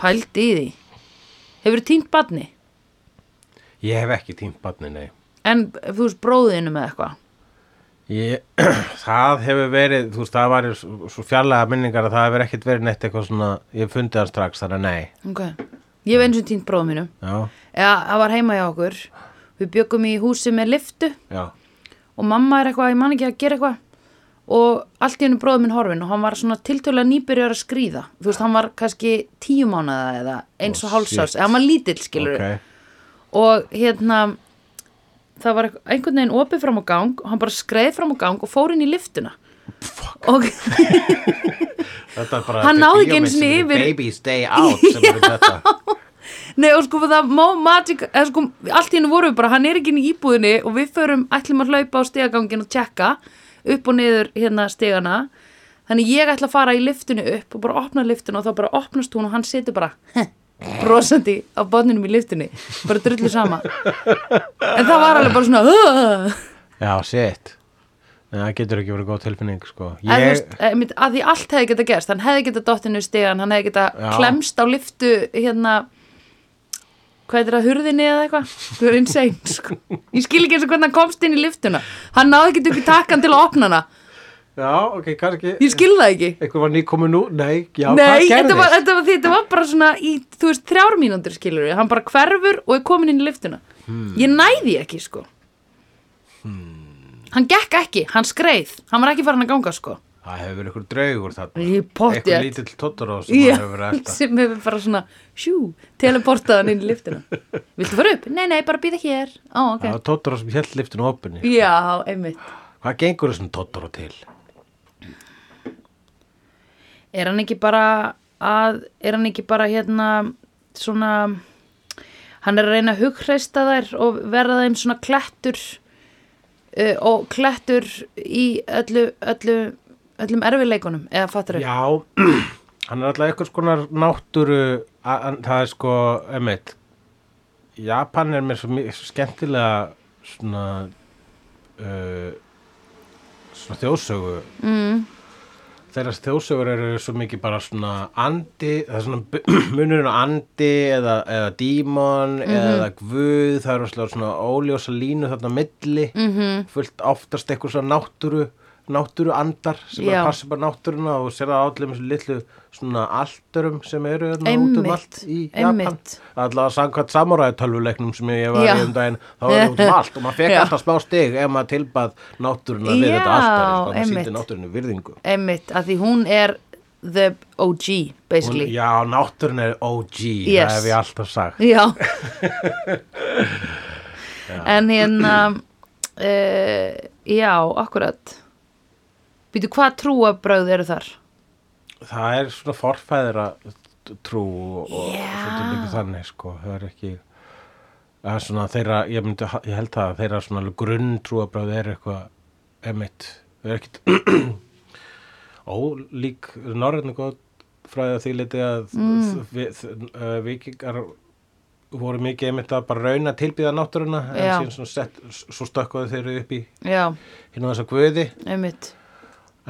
B: pældi í því. Hefur týnt badni?
C: Ég hef ekki týnt barni, nei.
B: En þú veist bróðinu með eitthvað
C: Ég, það hefur verið, þú veist, það var svo svo fjarlæga minningar að það hefur ekkert verið neitt eitthvað svona, ég hef fundið hann strax, þannig að nei.
B: okay. Ég hef eins og týnt bróðu mínu
C: Já,
B: Eða það var heima hjá okkur Við byggum í húsi með liftu
C: já,
B: Og mamma er eitthvað, ég man ekki að gera eitthvað Og allt í hennu bróðu minn horfinn Og hann var svona tiltölulega nýbyrjar að skríða Þú veist, hann var kannski tíu mánuða Eða eins
C: Oh,
B: og hálsás,
C: shit.
B: eða hann var lítill skilur
C: ok.
B: Og hérna Það var eitthvað- einhvern veginn opið fram á gang Og hann bara skreið fram á gang og fór inn í liftuna Fuck. Og
C: Þetta er bara
B: Hann
C: þetta er
B: náði ekki einu
C: bíómynd sem
B: sinni
C: heitir
B: yfir-
C: Baby's Day Out sem er um þetta
B: Nei og sko það má magic eða sko allt í hennu vorum við bara, hann er ekki inn í íbúðinni og við förum, ætlum að hlaupa á stegagangin og tjekka upp og niður hérna stegana þannig ég ætla að fara í liftinu upp og bara opna liftinu og þá bara opnast hún og hann situr bara brosandi á botninum í liftinu bara drullu sama en það var alveg bara svona "Ugh."
C: Já, shit Nei, það getur ekki verið góð tilfinning sko.
B: En þú
C: ég,
B: veist, eh, einmitt, að því allt hefði geta gerst hann hefði geta dottinu stegan, hann hefði geta
C: Já.
B: klemst á liftu hérna hvað er það, hurðinni eða eitthvað þú er insane, sko ég skil ekki eins og hvernig hann komst inn í liftuna hann náði ekki upp í takkan til að opna hana
C: Já, ok, kannski
B: ég skil það ekki
C: Eitthvað var nýkomin nú, nei, já,
B: Nei,
C: hvað gerðist?
B: þetta var, þetta, var, þetta var bara svona í, þú veist, þrjár mínúndur skilur við hann bara hverfur og er komin inn í liftuna
C: Hmm.
B: ég næði ekki, sko hann gekk ekki, hann skreið hann var ekki farin að ganga, sko
C: Það hefur verið eitthvað draugur þarna
B: Í pottþétt.
C: Eitthvað lítill Totoro sem
B: Já,
C: hefur verið eftir
B: sem hefur bara svona sjú, teleportaðan inn í liftuna Viltu fara upp? Nei, nei, bara býða hér Ó,
C: Það
B: ok
C: var Totoro sem held liftinu opinni
B: Já, einmitt
C: Hvað gengur þessum Totoro til?
B: Er hann ekki bara að, er hann ekki bara hérna svona hann er að reyna að hugreista þær og verða þeim svona klettur uh, og klettur í öllu, öllu öllum erfileikunum, eða fattur
C: Já, hann er alltaf eitthvað skonar náttúru a- an- Það er sko, emmitt Japan er mér svo, mi- svo skemmtilega svona uh, svona þjóðsögu mm. þeirra þjóðsögur eru svo mikið bara svona andi það er svona bu- munurinn á andi eða, eða dímon eða guð, það eru svona, svona óljósa línu þarna á milli
B: Mhm.
C: -hmm. fullt oftast eitthvað svona náttúru náttúru andar sem
B: Já.
C: er að passa bara náttúruna og sér það allir með svo litlu svona aldurum sem eru þarna út um
B: Einmitt,
C: allt í Japan
B: einmitt.
C: allavega samkvæmt samuræði tölvuleiknum sem ég var
B: Já.
C: í um daginn þá er það út um allt og maður fekk
B: Já.
C: alltaf smá stig ef maður tilbað náttúruna við
B: Já,
C: þetta alltaf maður
B: einmitt.
C: sýndi náttúrunni virðingu
B: Einmitt, að því hún er the OG,
C: Hún,
B: basically
C: já, náttúrun er OG,
B: Yes.
C: það hef ég alltaf sagt
B: Já En hérna uh, Já, akkurat Býtu, hvað trúabrögð eru þar?
C: Það er svona forfæðra trú og og
B: Já.
C: svolítið líka þannig sko, það er ekki það er svona þeirra, ég, myndi, ég held það að þeirra svona alveg grunntrúabráð er eitthvað emitt, það er ekkit ólík norrænni góð fræði að því liti að mm. við, uh, vikingar voru mikið emitt að bara rauna tilbyða náttúruna en
B: Já.
C: síðan svona sett, svo stökkuðu þeirra upp í
B: Já,
C: hinn og þessa guði
B: einmitt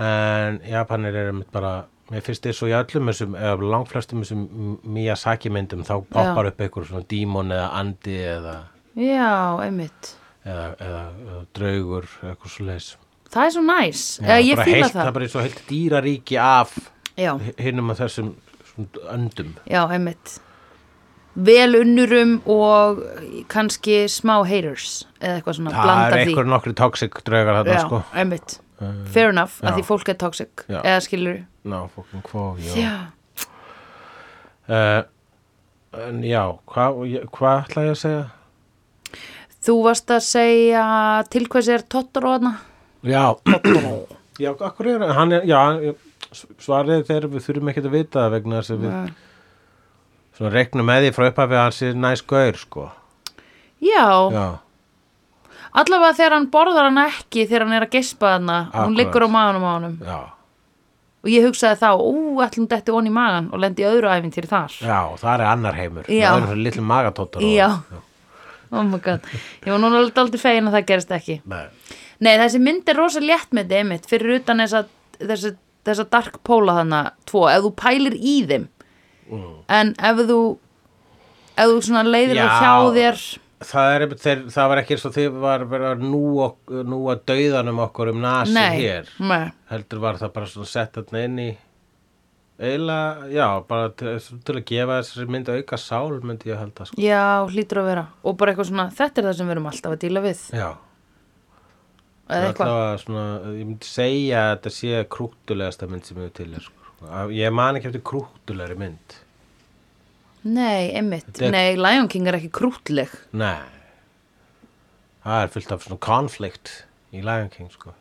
C: en Japanir eru mitt bara mér finnst þið svo í öllum þessum eða langflestum þessum Miyazaki myndum þá poppar upp einhver svona dímon eða andi eða,
B: Já, einmitt
C: eða, eða, eða draugur eitthvað svo leis
B: Það er svo næs, eða ég fíla
C: heilt, það er
B: það
C: bara eins og heilt dýraríki af
B: Já,
C: hinnum að þessum svona öndum
B: já, einmitt Vel unnurum og kannski smá haters eða eitthvað svona,
C: það
B: blanda
C: er
B: því
C: einhver nokkri toxic draugar þarna
B: Já,
C: sko
B: einmitt Fair enough,
C: já.
B: að því fólk er toxic
C: Já.
B: eða skilur
C: ná, fókin kvó, já
B: Já,
C: uh, en já, hvað hva ætla ég að segja?
B: þú varst að segja til hvers er Totoro hana?
C: Já, já, akkur er hann, er- já, hann- svarið þegar við þurfum ekkert að vita það vegna þess að við svona reiknum með því frá upphafi að hann sé næs gaur, sko.
B: Já,
C: Já,
B: allavega þegar hann borðar hann ekki þegar hann er að gespa hana hún
C: Akkurat.
B: liggur á maganum á honum
C: já,
B: og ég hugsaði þá, ú, ætlum detti onni í magan og lendi í öðru æfintýri þar
C: já, það er annar heimur.
B: Já.
C: Það er svona litlu magatóttar.
B: Já, oh my god Ég var núna alveg aldrei fegin að það gerist ekki
C: Nei,
B: Nei, þessi mynd er rosa létt með einmitt fyrir utan þessa, þessa, þessa dark póla þarna tvo, ef þú pælir í þeim en ef þú ef þú svona leiðir
C: Já.
B: það hjá þér
C: það er, einmitt- þeir, það var ekki eins og þið var verið að nú, ok, nú að dauðanum okkur um nasi
B: Nei,
C: hér.
B: nei,
C: Heldur var það bara svona sett þarna inn í eiginlega, já, bara til, til að gefa þessari mynd auka sál myndi ég held að sko.
B: já, hlýtur að vera og bara eitthvað svona, þetta er það sem við erum alltaf að díla við
C: Já.
B: eða eitthvað
C: allavega svona, ég myndi segja að þetta sé krúttulegasta mynd sem hefur til er, sko. Að- ég man ekki eftir krúttulegri mynd
B: Nei, einmitt.
C: er-
B: Nei, Lion King er ekki krútleg.
C: nei það er fullt af svona konflikt í Lion King sko.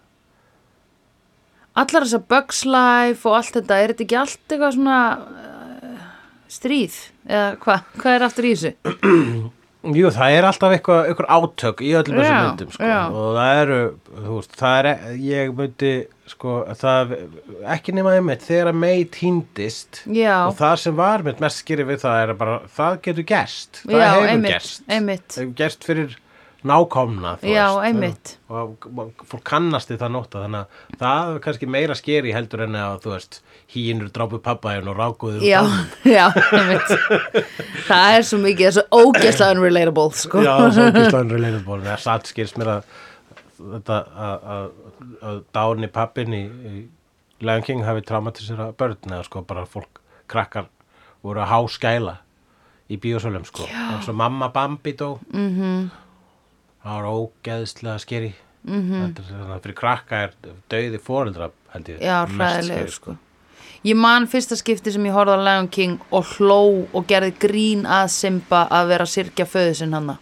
B: Allar þessar Bugs Life og allt þetta, er þetta ekki allt eitthvað svona uh, stríð eða hvað, hvað er aftur í þessu?
C: Jú, það er alltaf eitthvað, eitthvað átök í öllum þessum
B: Já,
C: myndum sko.
B: já.
C: og það eru, þú veist, það er ég myndi, sko, það ekki nema einmitt, þegar að mei týndist
B: Já.
C: og það sem var mitt mest skýri við það er að bara, það getur gerst það
B: Já,
C: hefur
B: einmitt,
C: gerst,
B: einmitt.
C: hefur gerst fyrir nákomna, þú
B: Já,
C: veist
B: einmitt.
C: og og fólk kannast við það nóta þannig að það er kannski meira skeri heldur en að, þú veist, hínur drápu pappaðin og rákuður
B: Já, já, einmitt. það er svo mikið, það er svo ógeðslega unrelatable, sko.
C: Já, svo gíslaðan relatable Það satt skilst mér að þetta að- að- að dáni pappin í, í Lion King hafi traumatisera börn eða sko bara fólk, krakkar voru að háskæla í bíósölum sko eins og mamma Bambi dó -hmm.
B: Mhm.
C: það var ógeðslega skeri mm
B: Mhm.
C: -hmm. fyrir krakka er döiði fóreldra held ég
B: Já,
C: mest
B: hræðilegur
C: scary,
B: sko. Ég man fyrsta skipti sem ég horfði á Lion King og hló og gerði grín að Simba að vera að syrkja föðu sinn hanna.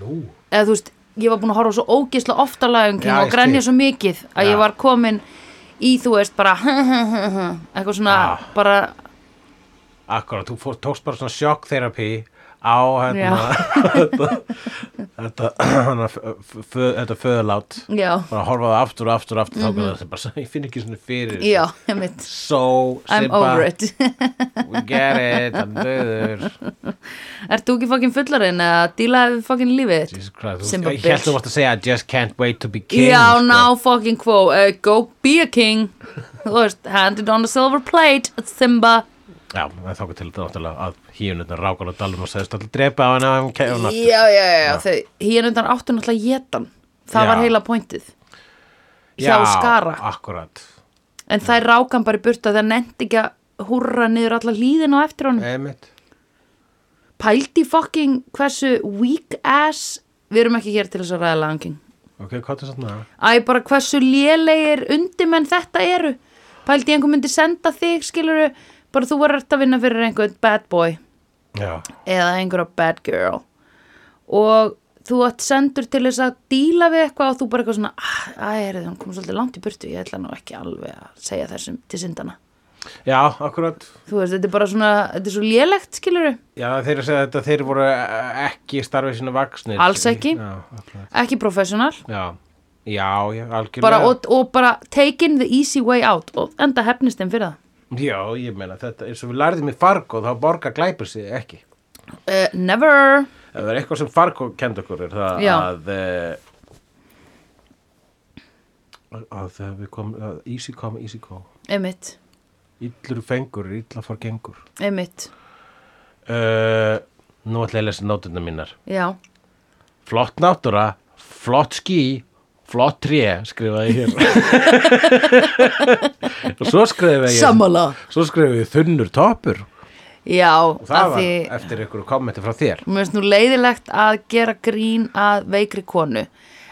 C: Nú,
B: Eða þú veist, ég var búin að horfa svo ógisla ofta á Lion King
C: Já, ég
B: og grænja svo
C: skil.
B: mikið að
C: Já.
B: ég var komin í, þú veist, bara eitthvað svona,
C: Já.
B: bara
C: akkurat, þú fór, tókst bara svona sjokktherapí á hérna þetta hana, f- f- föð- þetta föðulát
B: já, Mhm.
C: bara horfaði aftur og aftur og aftur þá kom þetta bara, svo- ég finn ekki svona fyrir þessu.
B: já, einmitt
C: so,
B: I'm
C: Simba,
B: over it.
C: we get it, I'm döður
B: Ert þú ekki fokkin fullarinn að díla hefur fokkin lífið þitt?
C: Jesus Christ, þú,
B: Simba
C: ég held þú
B: bitch.
C: varst að segja I just can't wait to be king
B: Já,
C: sko.
B: ná fucking quo uh, Go be a king Þú veist, Hand it on a silver plate Simba
C: já, það þókar til þetta náttúrulega að híunutna rákan á dalum og segist allir drepa á hana um kefun aftur
B: Já, já, já, þau Híðan undan áttu náttúrulega jétan Það
C: Já.
B: var heila pointið Hjá skara
C: akkurat,
B: En þær rákan bara í burta þegar nefndi ekki að húrra niður alla hlýðin á eftir honum
C: einmitt
B: Pældi fucking hversu weak ass Við erum ekki hér til þess að ræða langing
C: ok, hvað er þetta með það?
B: Æ, bara hversu lélegir undimenn þetta eru Pældi einhver myndi senda þig, skilurðu Bara þú var að vinna fyrir einhvern bad boy
C: já,
B: eða einhverja bad girl og þú ert sendur til þess að díla við eitthvað og þú bara eitthvað svona "Ah, æ, heyrðu, hann kom svolítið langt í burtu ég ætla nú ekki alveg að segja þessum til syndana
C: já, akkurat
B: þú veist, þetta er bara svona, þetta er svo lélegt skiluru,
C: Já, þeir eru að segja þetta, þeir voru eh, ekki starfið sínu vaksnir.
B: Alls ekki.
C: Já, akkurat.
B: ekki professional
C: já, já, já algjörlega.
B: bara, og, og bara taking the easy way out og enda hefnist þeim fyrir það
C: Já, ég meina þetta, eins og við lærðum í Fargo, þá borga glæpur sig ekki.
B: uh, never
C: Ef það er eitthvað sem Fargo kend okkur er það
B: Já.
C: að... Uh, að þegar við komum, að easy come, easy go.
B: einmitt,
C: Illur fengur, er illa fór gengur.
B: einmitt,
C: Uh, nú ætla ég að lesa nótuna mínar.
B: já
C: Flott náttúra, flott ský, flott tré, skrifaði ég hér. og svo skrifaði ég,
B: sammála,
C: svo skrifaði ég þunnur toppur.
B: já
C: Og það
B: af
C: var
B: því,
C: eftir einhverju kommenti frá þér.
B: mér finnst nú leiðilegt að gera grín að veikri konu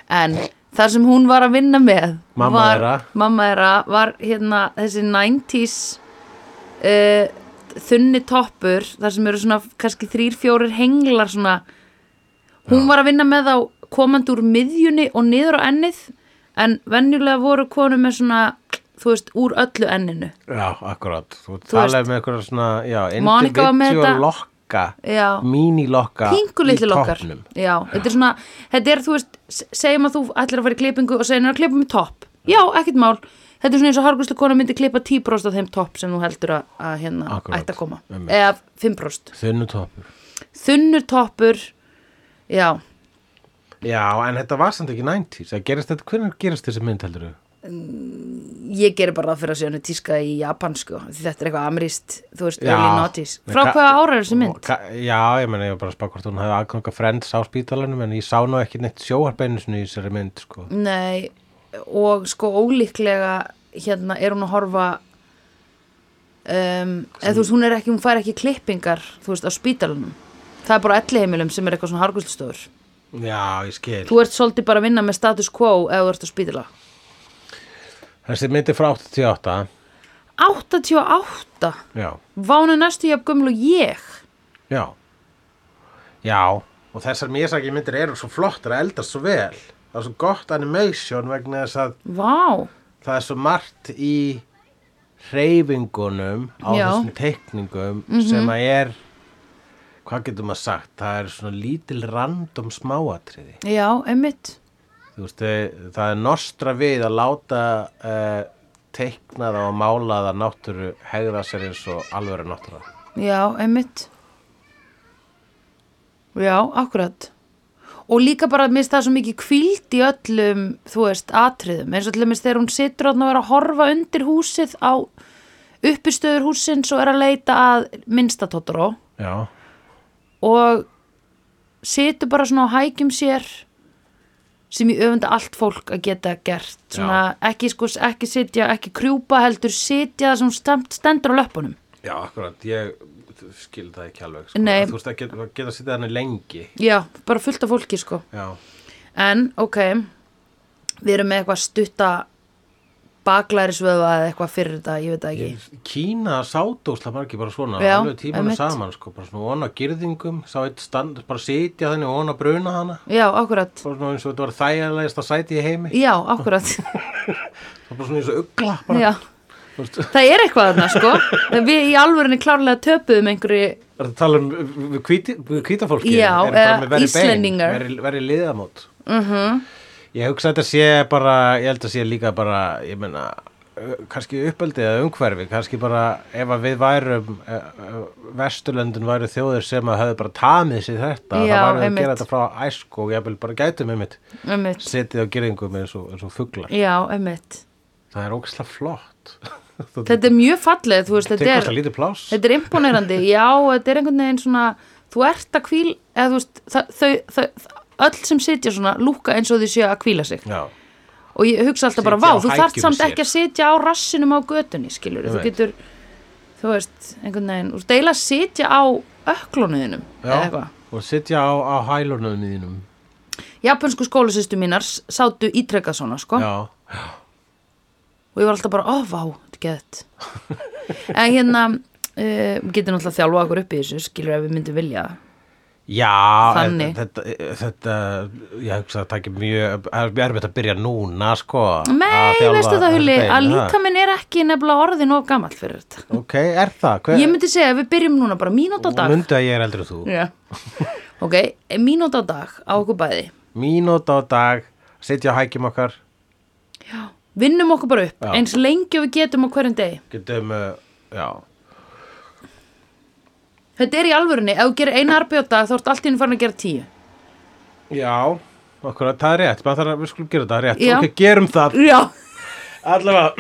B: en þar sem hún var að vinna með
C: Mamma
B: var,
C: þeirra.
B: mamma þeirra var hérna þessi 90s uh, þunni toppur þar sem eru svona kannski þrýr fjórir henglar svona hún var að vinna með þá komandi úr miðjunni og niður á ennið en venjulega voru konu með svona þú veist, úr öllu enninu
C: Já, akkurat. Þú,
B: veist-
C: talaði með einhverju svona, já,
B: Monica var með
C: individual
B: þetta-
C: lokka,
B: Já.
C: mínilokka
B: pingu
C: í
B: litli lokkar
C: toppnum.
B: já, þetta er svona, þetta er þú veist s- segjum að þú ætlir að fara í klippingu og segjum að klippa með topp, já, ekkert mál þetta er svona eins og hargustu kona myndi klippa 10% af þeim topp sem þú heldur að, að hérna
C: Akkúrat,
B: ætti að koma,
C: einmitt.
B: eða 5%
C: Þunnur toppur.
B: þunnur toppur já,
C: Já, en þetta var samt ekki 90s. Það gerist þetta, hvernig gerist þessi mynd heldur þú?
B: ég geri bara það fyrir að sé hann tíska í japansku, því þetta er eitthvað amrist þú veist,
C: Já.
B: early notice, frá
C: Ka-
B: hvaða ára er þessi mynd?
C: Ka já, ég meina, ég var bara að spá hvort hún hefði aðganga frends á spítalanum en ég sá nú ekki neitt sjóharbeinu sinni í þessari mynd, sko.
B: Nei, og sko ólíklega hérna er hún að horfa um, eða þú veist, hún er ekki, hún fær ekki klippingar, þú veist, á spítalunum það er bara elliheimilum sem er eitthvað svona hargustustofur
C: Já, ég skil.
B: þú ert svolítið bara að vinna með status quo ef þú ert á spítala
C: Þessi mynd er frá 88,
B: 88,
C: já,
B: vánu næstu jafn gömul og ég
C: já, já, og þessar mjösaki myndir eru svo flottar að eldast svo vel. Það er svo gott animation vegna þess að
B: Vá,
C: það er svo margt í reyfingunum á
B: Já. Mhm.
C: þessum teikningum sem að er hvað getur maður sagt, það er svona lítil random smáatriði
B: já, einmitt
C: Þú veist, þau- það er nostra við að láta uh, teikna það og mála það náttúru hegða sér eins og alvöru náttúra
B: Já, einmitt Já, akkurat Og líka bara að mista það svo mikið kvíld í öllum, þú veist, atriðum eins og til dæmis þegar hún situr þarna og er að horfa undir húsið á uppistöður húsins og er að leita að minnsta Totoro
C: Já,
B: og situr bara svona á hækjum sér sem ég öfunda allt fólk að geta gert svona, ekki, sko, ekki sitja, ekki krjúpa heldur sitja það sem hún stend- stendur á löppunum
C: já, akkurat, ég skil það ekki alveg sko.
B: Nei.
C: Þú veist, það geta, geta sittið þannig lengi
B: Já, bara fullt af fólki sko
C: Já,
B: En, ok, við erum með eitthvað stutta baklærisvöðva eða eitthvað fyrir þetta, ég veit það ekki.
C: ég, Kína sátósla margir bara svona
B: Já,
C: alveg tímanu
B: einmitt.
C: saman, sko, bara svona vona girðingum sá eitt stand, bara sitja þannig og vona bruna hana
B: Já, akkurat.
C: bara svona eins og þetta var þægilegasta sæti í heimi
B: Já, akkurat.
C: bara svona eins og ugla bara,
B: Já.
C: þú veist,
B: Það er eitthvað þarna, sko. En Við í alvörinni klárlega töpuðum einhverju,
C: Er það að tala um uh, við hvíti- við hvítafólki?
B: Já,
C: Er bara
B: eða
C: með verri bein,
B: Íslendingar. Mhm.
C: verri- Verri liðamót. Ég hugsa að þetta sé bara, ég held að sé líka bara, ég meina, uh, kannski uppöldið eða umhverfi, kannski bara ef að við værum, uh, uh, Vesturlöndin væru þjóðir sem að höfðu bara tamið sér þetta,
B: Já,
C: það væru að
B: einmitt.
C: gera þetta frá æsku og jafnvel bara gætum einmitt,
B: ömmit.
C: setið á gerðingum eins og, eins og fuglar.
B: Já, ömmit.
C: Það er ógislega flott.
B: Þetta er mjög falleg, þú veist, þetta
C: Tekur það
B: er,
C: lítið pláss.
B: þetta er imponerandi. Já, þetta er einhvern veginn svona, þú ert að kvíl, eða þú veist, það, þau, þau, öll sem sitja svona lúka eins og þau séu að kvíla sig.
C: Já.
B: og ég hugsa alltaf bara,
C: Sitja
B: vá,
C: á
B: þú þarft
C: hækjum
B: samt
C: sér.
B: ekki að sitja á rassinum á götunni, skilur
C: Ég
B: þú
C: veit.
B: getur, þú veist, einhvern veginn þú deila að sitja á öklónuðinum eða
C: Já,
B: eitthvað.
C: og sitja á, á hælunum þínum.
B: Japansku skólusystu mínar s- sátu ítrekka svona, sko
C: Já.
B: og ég var alltaf bara, ó, vá, þetta er gett en hérna uh, getur náttúrulega þjálfa okkur upp í þessu skilur ef við myndum vilja það.
C: Já,
B: Þannig.
C: en þetta, eh, þetta, ég hugsa að taka mjög, það er mjög erfitt að byrja núna, sko. að
B: Nei,
C: þjálfa
B: veistu það,
C: þessi
B: Hulli,
C: bein,
B: að
C: ha?
B: líka minn er ekki nefnilega orðin og gamall fyrir þetta
C: Ok, er það? Hver,
B: Ég myndi segja að við byrjum núna bara mínúta á dag Mm.
C: Mundu að ég er eldri en þú.
B: Já. Ok, mínúta á dag á okkur bæði.
C: Mínúta á dag, sitja á hækjum okkar,
B: Vinnum okkur bara upp,
C: Já.
B: eins lengi og við getum á hverjum degi.
C: getum, uh, já,
B: Þetta er í alvörunni, ef þú gerir eina arbi á dag þá ertu allt í henni farin að gera tíu.
C: já, okkur, það er rétt, maður þarf að, við skulum gera það rétt.
B: Já.
C: Ok, gerum það.
B: Já.
C: Allavega,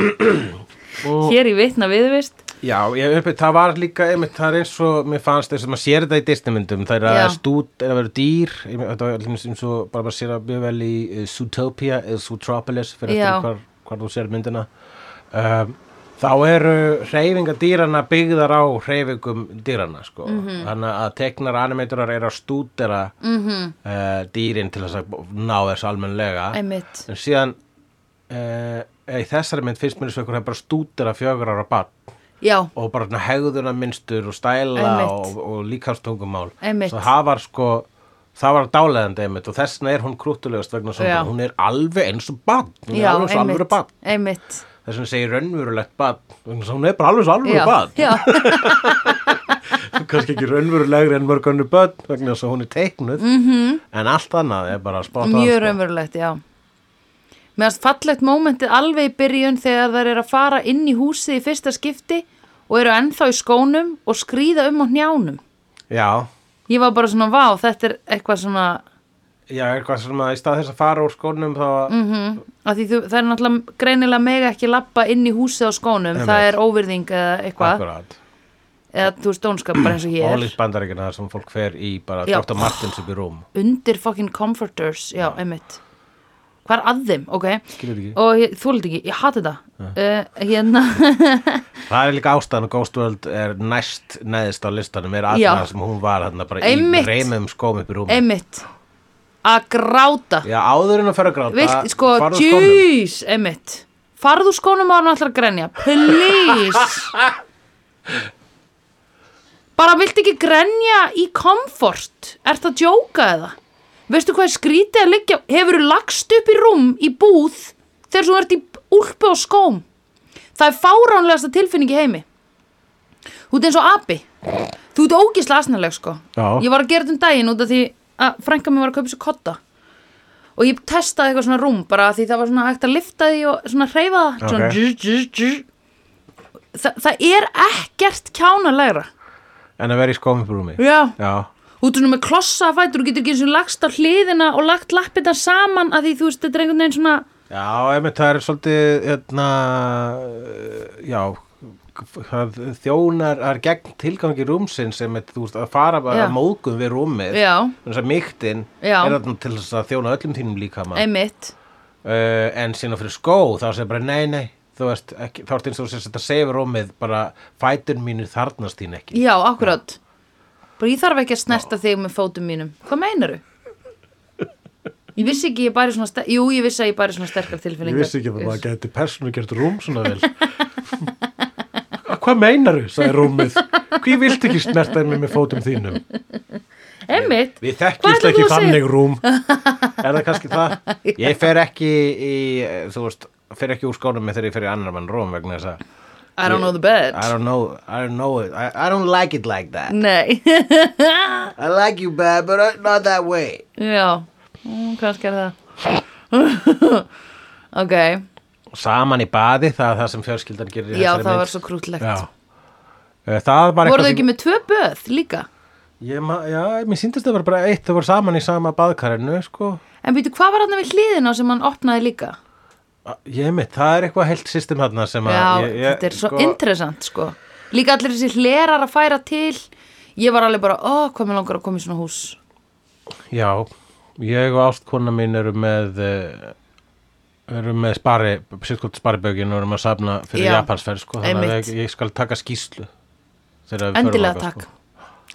B: Hér í vitna viðvist.
C: já, ég, uppi, það var líka, einmitt, það er eins og, mér fannst, eins og maður sér þetta í Disneymyndum, það er að
B: Já.
C: stút, er að vera dýr, ég meina, þetta var allir eins og bara maður sér það mjög vel í eh, Zootopia eða Zootropolis fyrir
B: Já.
C: eftir hvar, hvar þú sér myndina um, þá eru hreyfinga dýrana byggðar á hreyfingum dýrana sko.
B: Mhm.
C: þannig að teknar animatorar eru að stútera mm
B: Mhm.
C: dýrin til þess að ná þess almennlega
B: Einmitt.
C: en síðan uh, í þessari mynd finnst mér svo einhver að bara stútera fjögur ára barn
B: Já,
C: og bara svona hegðuna minnstur og stæla
B: Einmitt.
C: og, og líkastungumál
B: Einmitt.
C: svo það var sko það var dálæðandi einmitt og þessna er hún krúttulegast vegna sem
B: Já.
C: hún er alveg eins og bann hún
B: já,
C: er alveg svo alveg bann
B: einmitt.
C: þess vegna segir raunverulegt bann vegna sem hún er bara alveg svo
B: Já,
C: alveg bann
B: já,
C: kannski ekki raunverulegri en mörg önnu bann vegna þess að hún er teiknuð mm -hmm. en allt annað er bara sko. spott
B: Mhm. mjög raunverulegt, já. Mér finnst fallegt mómentið alveg í byrjun þegar þær eru að fara inn í húsið í fyrsta skipti og eru ennþá í skónum og skrýða um á njánum.
C: já,
B: Ég var bara svona, vá, þetta er eitthvað svona,
C: já, eitthvað sem að í stað þess að fara úr skónum þá
B: Mhm.
C: mm -hmm.
B: að því þú, það er náttúrulega greinilega mega ekki lappa inn í húsið á skónum,
C: Einmitt.
B: það er óvirðing eða eitthvað,
C: akkurat
B: eða þú veist dónskap bara eins og ég er,
C: ólíkt bandaríkina þar sem fólk fer í bara
B: Já.
C: Dr. Martins upp í rúm
B: undir fucking comforters, já, einmitt hvað er að þeim, ok
C: Skilur ekki.
B: og ég, þú lítið ekki, ég hati þetta uh, hérna,
C: Það er líka ástæðan og Ghost World er næst neðist á listanum er
B: Já.
C: aðrað sem hún var hérna bara
B: Einmitt.
C: í reymum skóm upp í rúmi
B: einmitt að gráta,
C: Já, áður en að fara að gráta
B: vilt, sko
C: farðu úr skónum.
B: djús, einmitt farðu úr skónum á hann allar að grenja please bara vilt ekki grenja í komfort ert það að djóka eða veistu hvað er skrítið að liggja hefur lagst upp í rúm í búð þegar þú ert í úlpu og skóm það er fáránlegasta tilfinning í heimi þú ert eins og api þú ert ógislega asnaleg sko
C: Já.
B: ég var að gera þetta um daginn út af því að frænka mér var að kaupa sér kotta og ég testaði eitthvað svona rúm bara því það var svona hægt að lifta því og svona hreyfa það svona
C: Ok.
B: djú, djú, djú. Þa, það er ekkert kjánalegra
C: en að vera í skófum brúmi
B: já
C: já,
B: Þú ert svona með klossa að fætur og getur ekki eins og lagst á hliðina og lagt lappina saman að því þú veist, þetta er einhvern veginn svona
C: já emi, það er svolítið hérna, já það þjónar það er gegn tilgangi rúmsins sem þú veist að fara bara
B: Já.
C: að móðgum við rúmið
B: Já,
C: þess að mýktin
B: Já.
C: er þarna til þess að þjóna öllum þínum líkama uh,
B: einmitt
C: Eh, en síðan fyrir skó þá segir bara nei nei þú veist ekki, þá ertu eins og þú sérst að segja við rúmið bara fætur mínir þarnast þín ekki
B: Já, akkurat Bara ég þarf ekki að snerta þig með fótum mínum Hvað meinaru? Ég vissi ekki, ég bæri svona ster- Jú, ég vissi að ég bæri svona sterkar tilfinningar
C: gæti persónu gert rúm svona vel Hvað meinaru, sagði rúmið Hví vilt ekki snerta mér með fótum þínum
B: Einmitt
C: Við
B: Hvað
C: þekkjumst
B: ætlar
C: ekki
B: þú að segja?
C: þannig rúm Er það kannski það? Ég fer ekki í, þú veist fer ekki úr skónum með þegar ég fer í annar mann rúm vegna þess að
B: I don't know the
C: I
B: bed
C: don't know, I don't know it I, I don't like it like that
B: Nei
C: I like you bad, but not that way
B: Já, Mm, kannski er það Ok
C: Saman í baði, það er það sem fjölskyldan gerir í
B: Já,
C: þessari
B: það
C: mynd.
B: var svo krútlegt
C: Já. Eh, Það
B: Voru
C: var eitthvað
B: þau
C: sem-
B: ekki með tvö böð líka?
C: Ég ma, já, mér síndist það var bara eitt, það voru saman í sama baðkarinu, sko.
B: En býtu, hvað var hann við hliðina sem hann opnaði líka?
C: A- Ah, Ég mitt, það er eitthvað heilt system þarna sem að...
B: Já,
C: ég, ég,
B: þetta er svo interessant, sko. Líka allir þessi hlerar að færa til. Ég var alveg bara, ó, hvað mér langar að koma í svona hús.
C: Já, ég og ástkona mín eru með, eh, eru með spari, sittkort sparibögin og erum að safna fyrir
B: Já,
C: Japansferð, sko. Þannig
B: einmitt.
C: að ég, ég skal taka skýslu. þegar við förum
B: Endilega,
C: þangað, sko.
B: takk.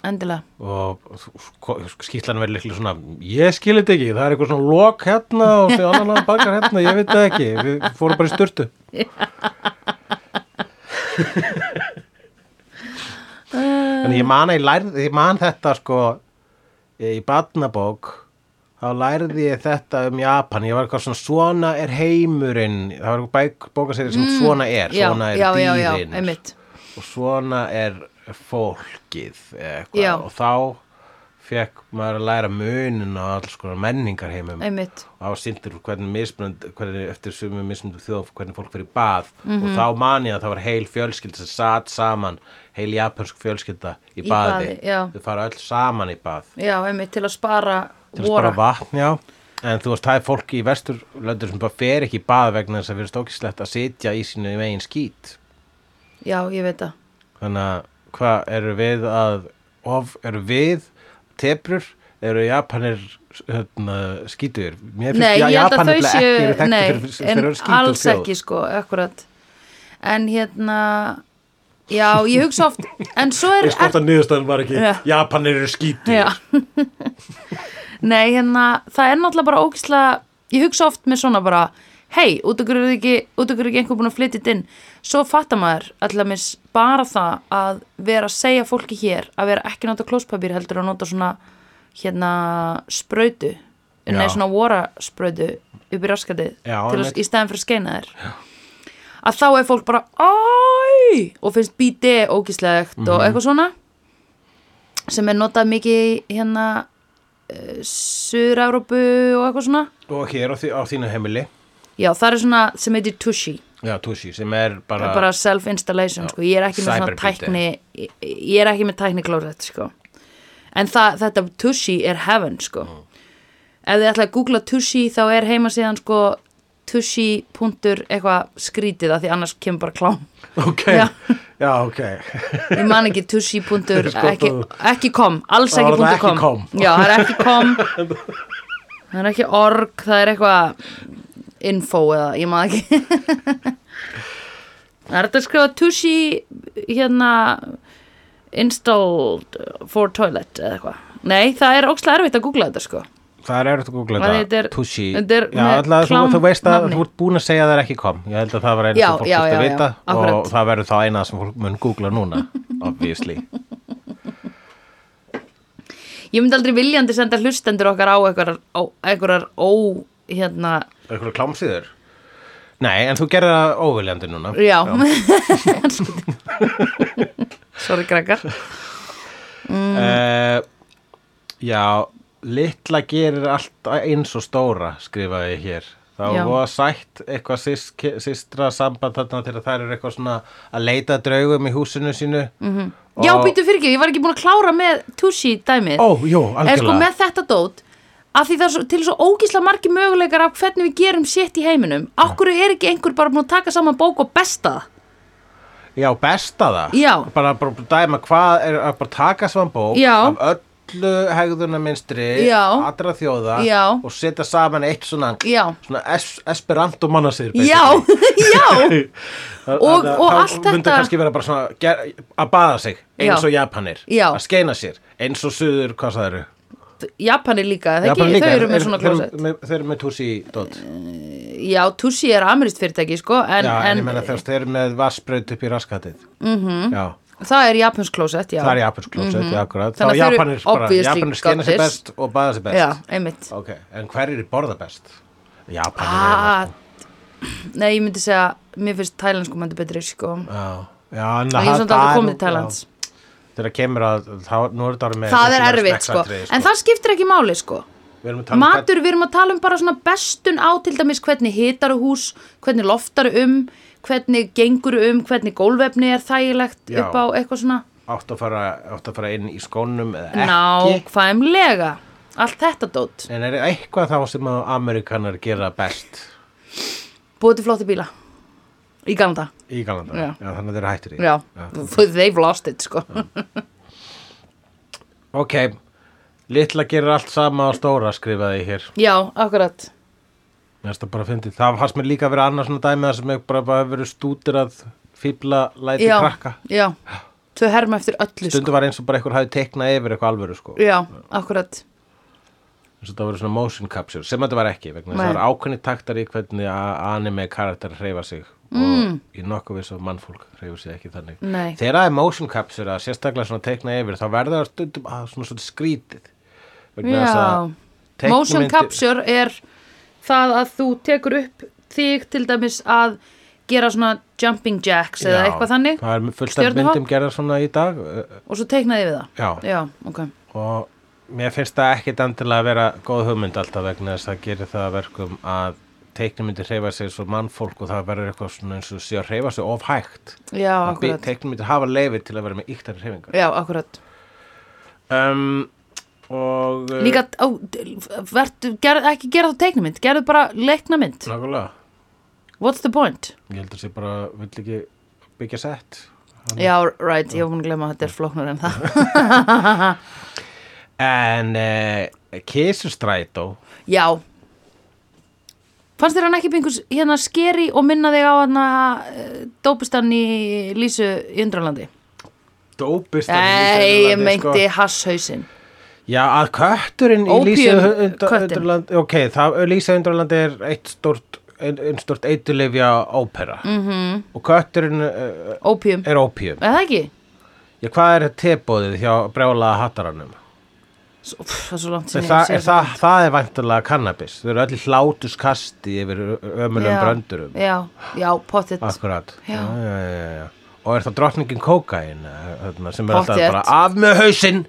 B: Endilega.
C: og sko, skýtlan verður líklega svona ég skil þetta ekki, það er eitthvað svona lok hérna og sér annan að bakar hérna, ég veit það ekki við fórum bara í styrtu en ég man að ég lærði ég man þetta sko í badnabók þá lærði ég þetta um Japan ég var eitthvað svona svona er heimurinn það var eitthvað bæk, bókasetir sem svona er
B: Mm. Já,
C: svona er
B: já, já,
C: dýrin sko.
B: já, einmitt.
C: og svona er fólkið eða
B: Já.
C: eitthvað og þá fekk maður að læra munin á alls konar menningar heimum
B: Einmitt.
C: og þá sýndir hvernig mismunandi hvernig eftir sumum mismunandi þjóf hvernig fólk fyrir bað
B: Mhm.
C: og þá man ég að það var heil fjölskylda sem satt saman heil japansk fjölskylda í,
B: Í
C: baði,
B: baði, já.
C: þau fara öll saman í bað
B: Já, einmitt, til að spara
C: til að spara
B: vora.
C: vatn, já en þú veist, það er fólk í vesturlöndur sem bara fer ekki í bað vegna þess að fyrir stókislegt að sitja í sínu megin skít
B: Já, ég veit það.
C: Þannig að hvað eru við að of, eru við teprur, eru Japanir hérna, skítur Mér
B: Nei,
C: Ja-
B: ég held
C: Japan
B: að þau
C: nefnilega
B: séu,
C: ekki eru þekktir
B: nei,
C: fyrir, fyrir,
B: en
C: fyrir
B: alls ekki, sko, akkurat. En hérna, já, ég hugsa oft, en svo er, er
C: að niðurstaðan var ekki
B: Já.
C: Japanir eru skítur
B: Já. Nei, hérna, það er náttúrulega bara ógislega, ég hugsa oft með svona bara, hei, út okkur er ekki, út okkur er ekki einhver búin að flytja þetta inn, svo fattar maður allavega mis bara það að vera að segja fólki hér að vera ekki að nota klóspapír heldur að nota svona, hérna, sprautu, nei,
C: Já.
B: svona vora sprautu upp í raskatið
C: Já,
B: til að,
C: einmitt.
B: í staðin fyrir að skeina þér. Já að þá er fólk bara æ, og finnst bíti ógíslegt
C: Mhm.
B: og eitthvað svona sem er notað mikið í hérna uh, Suður-Európu og eitthvað svona
C: Og hér á, þi- á þínu heimili
B: já, það er svona sem heitir Tushy
C: Já, Tushi, sem er
B: það
C: bara,
B: er bara self-installation, sko ég er ekki með svona
C: Cyberbíti.
B: tækni ég, ég er ekki með tækni klárið, sko en það, þetta Tushy er heaven, sko ef þið ætlaði að googla Tushy þá er heimasíðan, sko Tushy punktur eitthvað skrítið að því annars kemur bara klám
C: Ok,
B: Já.
C: já, ok
B: ég man ekki tussi punktur
C: Þetta er
B: ekki,
C: skotað.
B: ekki kom, alls
C: Það
B: ekki
C: var það
B: punktur
C: ekki
B: kom.
C: com.
B: já, það er ekki kom það er ekki org það er eitthvað info eða ég maður ekki það er þetta að skrifa tussi hérna installed for toilet eða eitthvað nei, það er ókslega erfitt að googla þetta sko
C: Það er erfitt að googla
B: Hvað
C: þetta,
B: þetta er-
C: Tushi
B: þetta er
C: Já,
B: með
C: alltaf þú,
B: klám-
C: þú veist að
B: nafni.
C: þú ert búin að segja að það er ekki kom Ég held að það var einu
B: Já,
C: sem fólk
B: já,
C: þurfti að
B: já, já,
C: vita
B: akkurat.
C: og það verður þá eina sem fólk mun googla núna obviously
B: ég myndi aldrei viljandi senda hlustendur okkar á einhverjar, á einhverjar ó hérna
C: Eitthvað klámsýður Nei, en þú gerði það óviljandi núna
B: Já, Sorry krakkar
C: mm. Já, litla gerir allt eins og stóra skrifaði ég hér þá
B: Já.
C: var sætt eitthvað sísk, sístra samband þarna til að þær eru eitthvað svona að leita draugum í húsinu sínu mm -hmm.
B: Mhm. Já, býtu fyrir ekki, ég var ekki búin að klára með Tushi dæmið
C: Ó, jú, algjörlega
B: En sko með þetta dót af því það er svo, til svo ógísla margi möguleikar af hvernig við gerum sétt í heiminum Akkur er ekki einhver bara búin að taka saman bók og besta það
C: Já, besta það
B: Já.
C: bara, bara dæma hvað er að bara taka svan bók
B: Já.
C: af öllu hegðuna minnstri
B: Já.
C: allra þjóða
B: Já.
C: og setja saman eitt svona,
B: Já.
C: svona es, esperanto mannasir
B: Já, já Og- og allt
C: þá myndi
B: þetta-
C: kannski vera bara svona ger, að baða sig eins
B: Já.
C: og Japanir
B: Já.
C: að skeina sér eins og suður hvað það eru
B: Japanir líka, það
C: Japanir
B: ekki,
C: líka,
B: þau eru með svona
C: þeir,
B: klósett
C: þeir, með- þeir eru með túsi dot
B: Já, Tushi er amerist fyrirtæki sko En,
C: Já, en, ég
B: en Mhm.
C: meina þeir, þeir eru með vassbraut upp í raskatið -hmm. Já
B: það er japansk klósett, já Mhm.
C: Það er japansk klósett, mm -hmm. akkurat.
B: Þannig
C: Þá
B: að þeir eru
C: japanir sko, bara,
B: obviously
C: japanir skena
B: got
C: sér
B: this.
C: best og baða sér best.
B: Já, einmitt
C: Ok, en hverjir borða best? Japanir ah.
B: ah, Nei, ég myndi segja Mér finnst tælensku mæntu betri sko
C: Já, já en
B: Það er svona
C: það
B: að
C: er-
B: komið til Tælands
C: já, Þegar kemur að, þá, nú er þetta með...
B: Það er
C: þessi
B: erfitt sko
C: smekksatriði,
B: En það skiptir ekki máli sko
C: Við erum að tala um hvern-
B: Matur, við erum að tala um bara svona bestun á til dæmis hvernig hitaru hús, hvernig loftaru um, hvernig genguru um, hvernig gólvefni er þægilegt
C: Já.
B: upp á eitthvað svona
C: átt að fara, átt að fara inn í skónum eða ekki
B: nákvæmlega. Allt þetta dót.
C: en er eitthvað þá sem að Amerikanar gera best
B: Búið til flotti bíla. Í gamla dag.
C: í Galanda
B: Já.
C: þannig að þeir eru hættir í
B: Já. They've lost it, sko.
C: ok, litla gerir allt sama og stóra skrifaði ég hér
B: Já, akkurat.
C: Mér finnst það bara fyndið. Það fannst mér líka að vera annars svona dæmi þar sem ég bara, bara hefur verið stútir að fýbla læti
B: Já,
C: krakka.
B: já. Þau herma eftir öllu,
C: Stundu var eins og bara einhver hafi teiknað yfir eitthvað alvöru sko.
B: sko. Já, akkurat.
C: Eins og það voru svona motion capture sem þetta var ekki vegna þess
B: Nei.
C: að það var ákveðni taktar í hvernig a- anime karakter hreyfa sig mm. og í nokkuð við svo mannfólk hreyfa sig ekki þannig.
B: Nei.
C: Þegar það er motion capture að sérstaklega svona teiknað yfir þá verður það stundum að svona svona skrítið. Vegna þess
B: Já.
C: að teiknimyndir-
B: Motion capture er það að þú tekur upp þig til dæmis að gera svona jumping jacks eða
C: Já,
B: eitthvað þannig
C: Það er fullt af
B: Stjörnuhop.
C: myndum gerðar svona í dag. uh,
B: og svo teiknaði við það.
C: Já.
B: Já, ok.
C: og mér finnst það ekkit endilega að vera góð hugmynd alltaf vegna þess að gera það að verkum að teiknumyndir hreyfa sig svo mannfólk og það verður eitthvað svona eins og sé að hreyfa sig of hægt
B: Já,
C: Að bi-
B: akkurat.
C: teiknimyndir hafa leifi til að vera með yktar hreyfingar
B: Já, akkurat.
C: um, og uh,
B: Líka, á, vertu, ger, ekki gera þú teiknumynd, gerðu bara leiknamynd.
C: nákvæmlega,
B: What's the point?
C: ég held að sé bara vill ekki byggja sett
B: Já, right, ég var búin að glemma að þetta er flóknar en það.
C: en uh, kisustrætó
B: Já. Fannst þér hann ekki pingus hérna skeri og minna þig á hérna eh, dópistan í Lísu í Undralandi?
C: dópist af
B: Nei, ég
C: Ísafjörðurlandi, sko.
B: meinti hasshausinn
C: Já, að kötturinn í
B: Ópíum- köttinn.
C: Lísaundurland ok, það Lísaundurland er eitt stort ein, ein stort eitulifja ópera -hmm.
B: Mhm.
C: og kötturinn uh,
B: Ópjum,
C: er ópíum
B: er það ekki?
C: Já, hvað er tebóðið hjá brjálaða hattaranum?
B: S- pff, Það er svo langt
C: Er
B: sem ég
C: það,
B: sé
C: er það, það er vantulega kannabis þau eru öll í hlátuskasti yfir ömulegum
B: Já,
C: bröndurum
B: Já, já, pottitt
C: akkurat
B: Já.
C: Já, já, já, já. og er það drottningin kókain eh, þarna, sem er alltaf
B: Pottþétt.
C: bara af með hausinn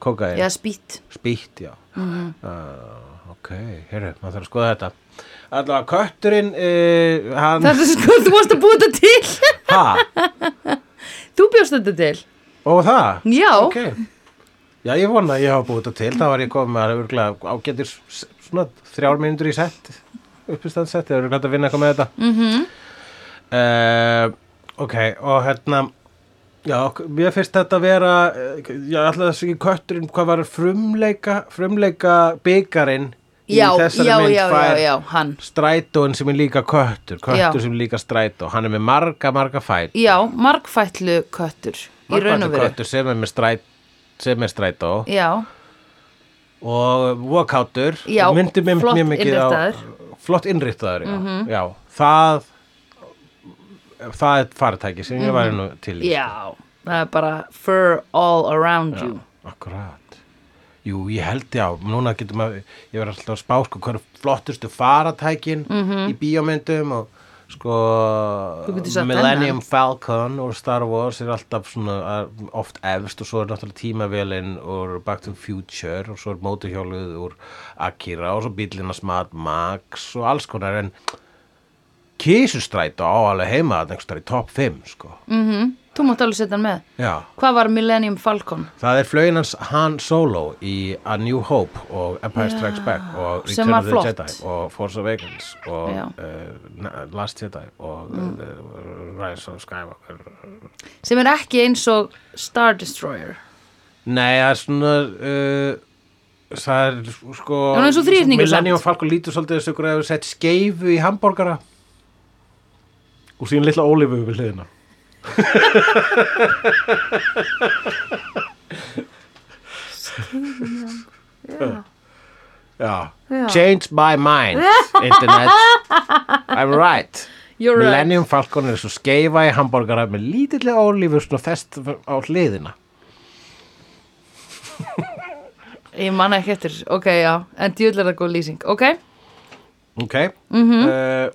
C: kókain
B: Já, spýtt
C: Spýtt, já.
B: Mhm.
C: Mm -hmm. ok, heyrðu, maður þarf að skoða þetta. Allá, kötturinn, uh, hann,
B: Það er sko, þú varst að búa þetta til
C: ha,
B: Þú bjóst þetta til
C: og það?
B: Já.
C: Ok, já, ég vona að ég hafa búið þetta til, þá var ég komið með að örgulega ágættir s- svona þrjár mínútur í sett, uppistandssett, eða örgulega að vinna eitthvað með þetta. Mm
B: Mhm.
C: -hmm. ok, og hérna, Já, ok, mér finnst þetta að vera, eh, já, alltaf þess ekki kötturinn, hvað var frumleika, frumleika byggarinn í
B: Já,
C: þessari
B: já,
C: mynd
B: já,
C: fær
B: já, já, hann
C: strætóin sem er líka köttur köttur
B: Já.
C: sem er líka strætó, hann er með marga marga fæt,
B: Já, margfætlu köttur Í raun og veru
C: köttur sem er með stræt sem er strætó
B: Já,
C: og walkoutur
B: Já,
C: myndum
B: flott Mhm.
C: mjög mikið á
B: innréttaður.
C: flott innrýttaður já. já, það það er faratæki sem ég væri nú til í.
B: Mhm. já Það er bara fur all around you
C: akkurat Jú, ég held já, núna getum að ég verið alltaf að spá sko hverju flottustu faratækin í bíómyndum og
B: Mhm. Þú getur sagt
C: Millennium
B: þennan.
C: Falcon og Star Wars er alltaf svona er oft efst og svo er náttúrulega tímavélinn og Back to the Future og svo er mótuhjólið úr Akira og svo bílina Smart Max og alls konar en kísustræta á alveg heima þarna einhvers staðar í top 5 sko
B: Mm. Þú mátt alveg setja hann með.
C: já
B: Hvað var Millennium Falcon?
C: Það er flögin hans Han Solo í A New Hope og Empire
B: Já,
C: Strikes Back og
B: sem
C: Return
B: var
C: of the
B: flott.
C: Jedi og Force Awakens og
B: Já. Mm.
C: uh, na- Last Jedi og uh, Rise of Skywalker
B: Sem er ekki eins og Star Destroyer.
C: Nei, það er svona uh, það er sko
B: Það er eins og þríhyrningur
C: Millennium
B: samt.
C: Falcon lítur svolítið þessu ykkur hefur sett skeifu í hambúrgara og síðan litla ólifu við hliðina
B: Já.
C: Já.
B: Já.
C: Change my mind, internet I'm right
B: You're right.
C: Millennium Falcon er svo skeifa í hambúrgara með lítillega ólífur svona fest á hliðina.
B: Ég manna ekki eftir. Ok, já. En djúðlega er það góð lýsing. Ok?
C: Ok?
B: Mhm.
C: Mm -hmm. uh,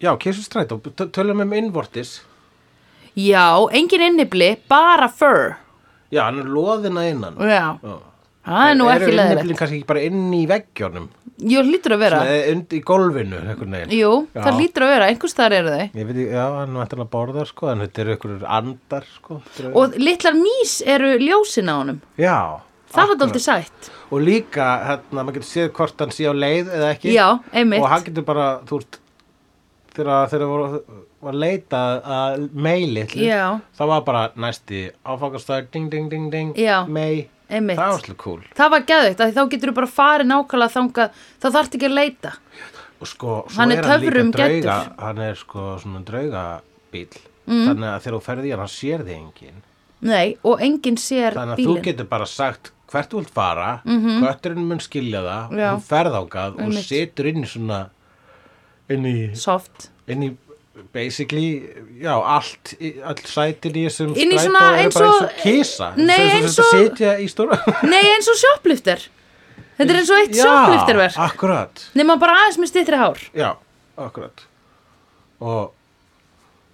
C: já, kísustrætó, t- tölum um innvortis.
B: Já, engin innibli, bara fur.
C: Já, hann er loðin að innan.
B: Já.
C: Já.
B: Það er nú ekki
C: Eru
B: leðilegt.
C: innyflin kannski ekki bara inn í veggjónum?
B: Jú, hlýtur að vera.
C: Svona, undi í gólfinu, einhvern veginn.
B: Jú,
C: Já.
B: það hlýtur að vera. Einhvers þar eru þau.
C: Ég veit ekki, já, hann er að borða, sko, en þetta eru einhverjur andar, sko. Þetta eru-
B: Og litlar mís eru ljósin á honum.
C: já.
B: Það var
C: akkurat.
B: dálítið sætt.
C: Og líka, hérna, maður getur séð hvort hann sé á leið eða ekki.
B: Já, einmitt.
C: Og hann getur bara, þú veist, þegar þeir voru var að leita að meili,
B: Já.
C: það var bara næsti áfangastæður, ding, ding, ding, ding,
B: Já,
C: mei.
B: einmitt.
C: Það var svolítið cool.
B: Það var gæðugt, þá getur þú bara farið nákvæmlega þangað, þá þarft ekki að leita.
C: Og sko, svo
B: Hann er
C: er, hann líka
B: töfrum
C: drauga,
B: gæddur.
C: hann er sko svona draugabíl. Mm. Þannig að þegar þú ferði í hann, hann sér þig enginn.
B: Nei, og enginn sér
C: Þannig að
B: bílinn. Mhm.
C: þú getur bara sagt hvert þú vilt fara, kötturinn mun skilja það
B: Já.
C: og þú ferð ákað og
B: Einmitt.
C: situr inn í svona inn í,
B: Soft.
C: inn í basically, já, allt í- allt sætin í þessum
B: Inn í
C: strætó
B: svona
C: eru
B: eins
C: bara
B: og-
C: eins og kisa
B: Nei,
C: Sem- sem
B: eins
C: þetta
B: og-
C: sitja í stóra
B: Nei, eins og sjopplifter. Þetta er eins og eitt sjopplifterverk.
C: Ah. akkurat
B: Nei, maður bara aðeins með styttri hár.
C: Já, akkurat og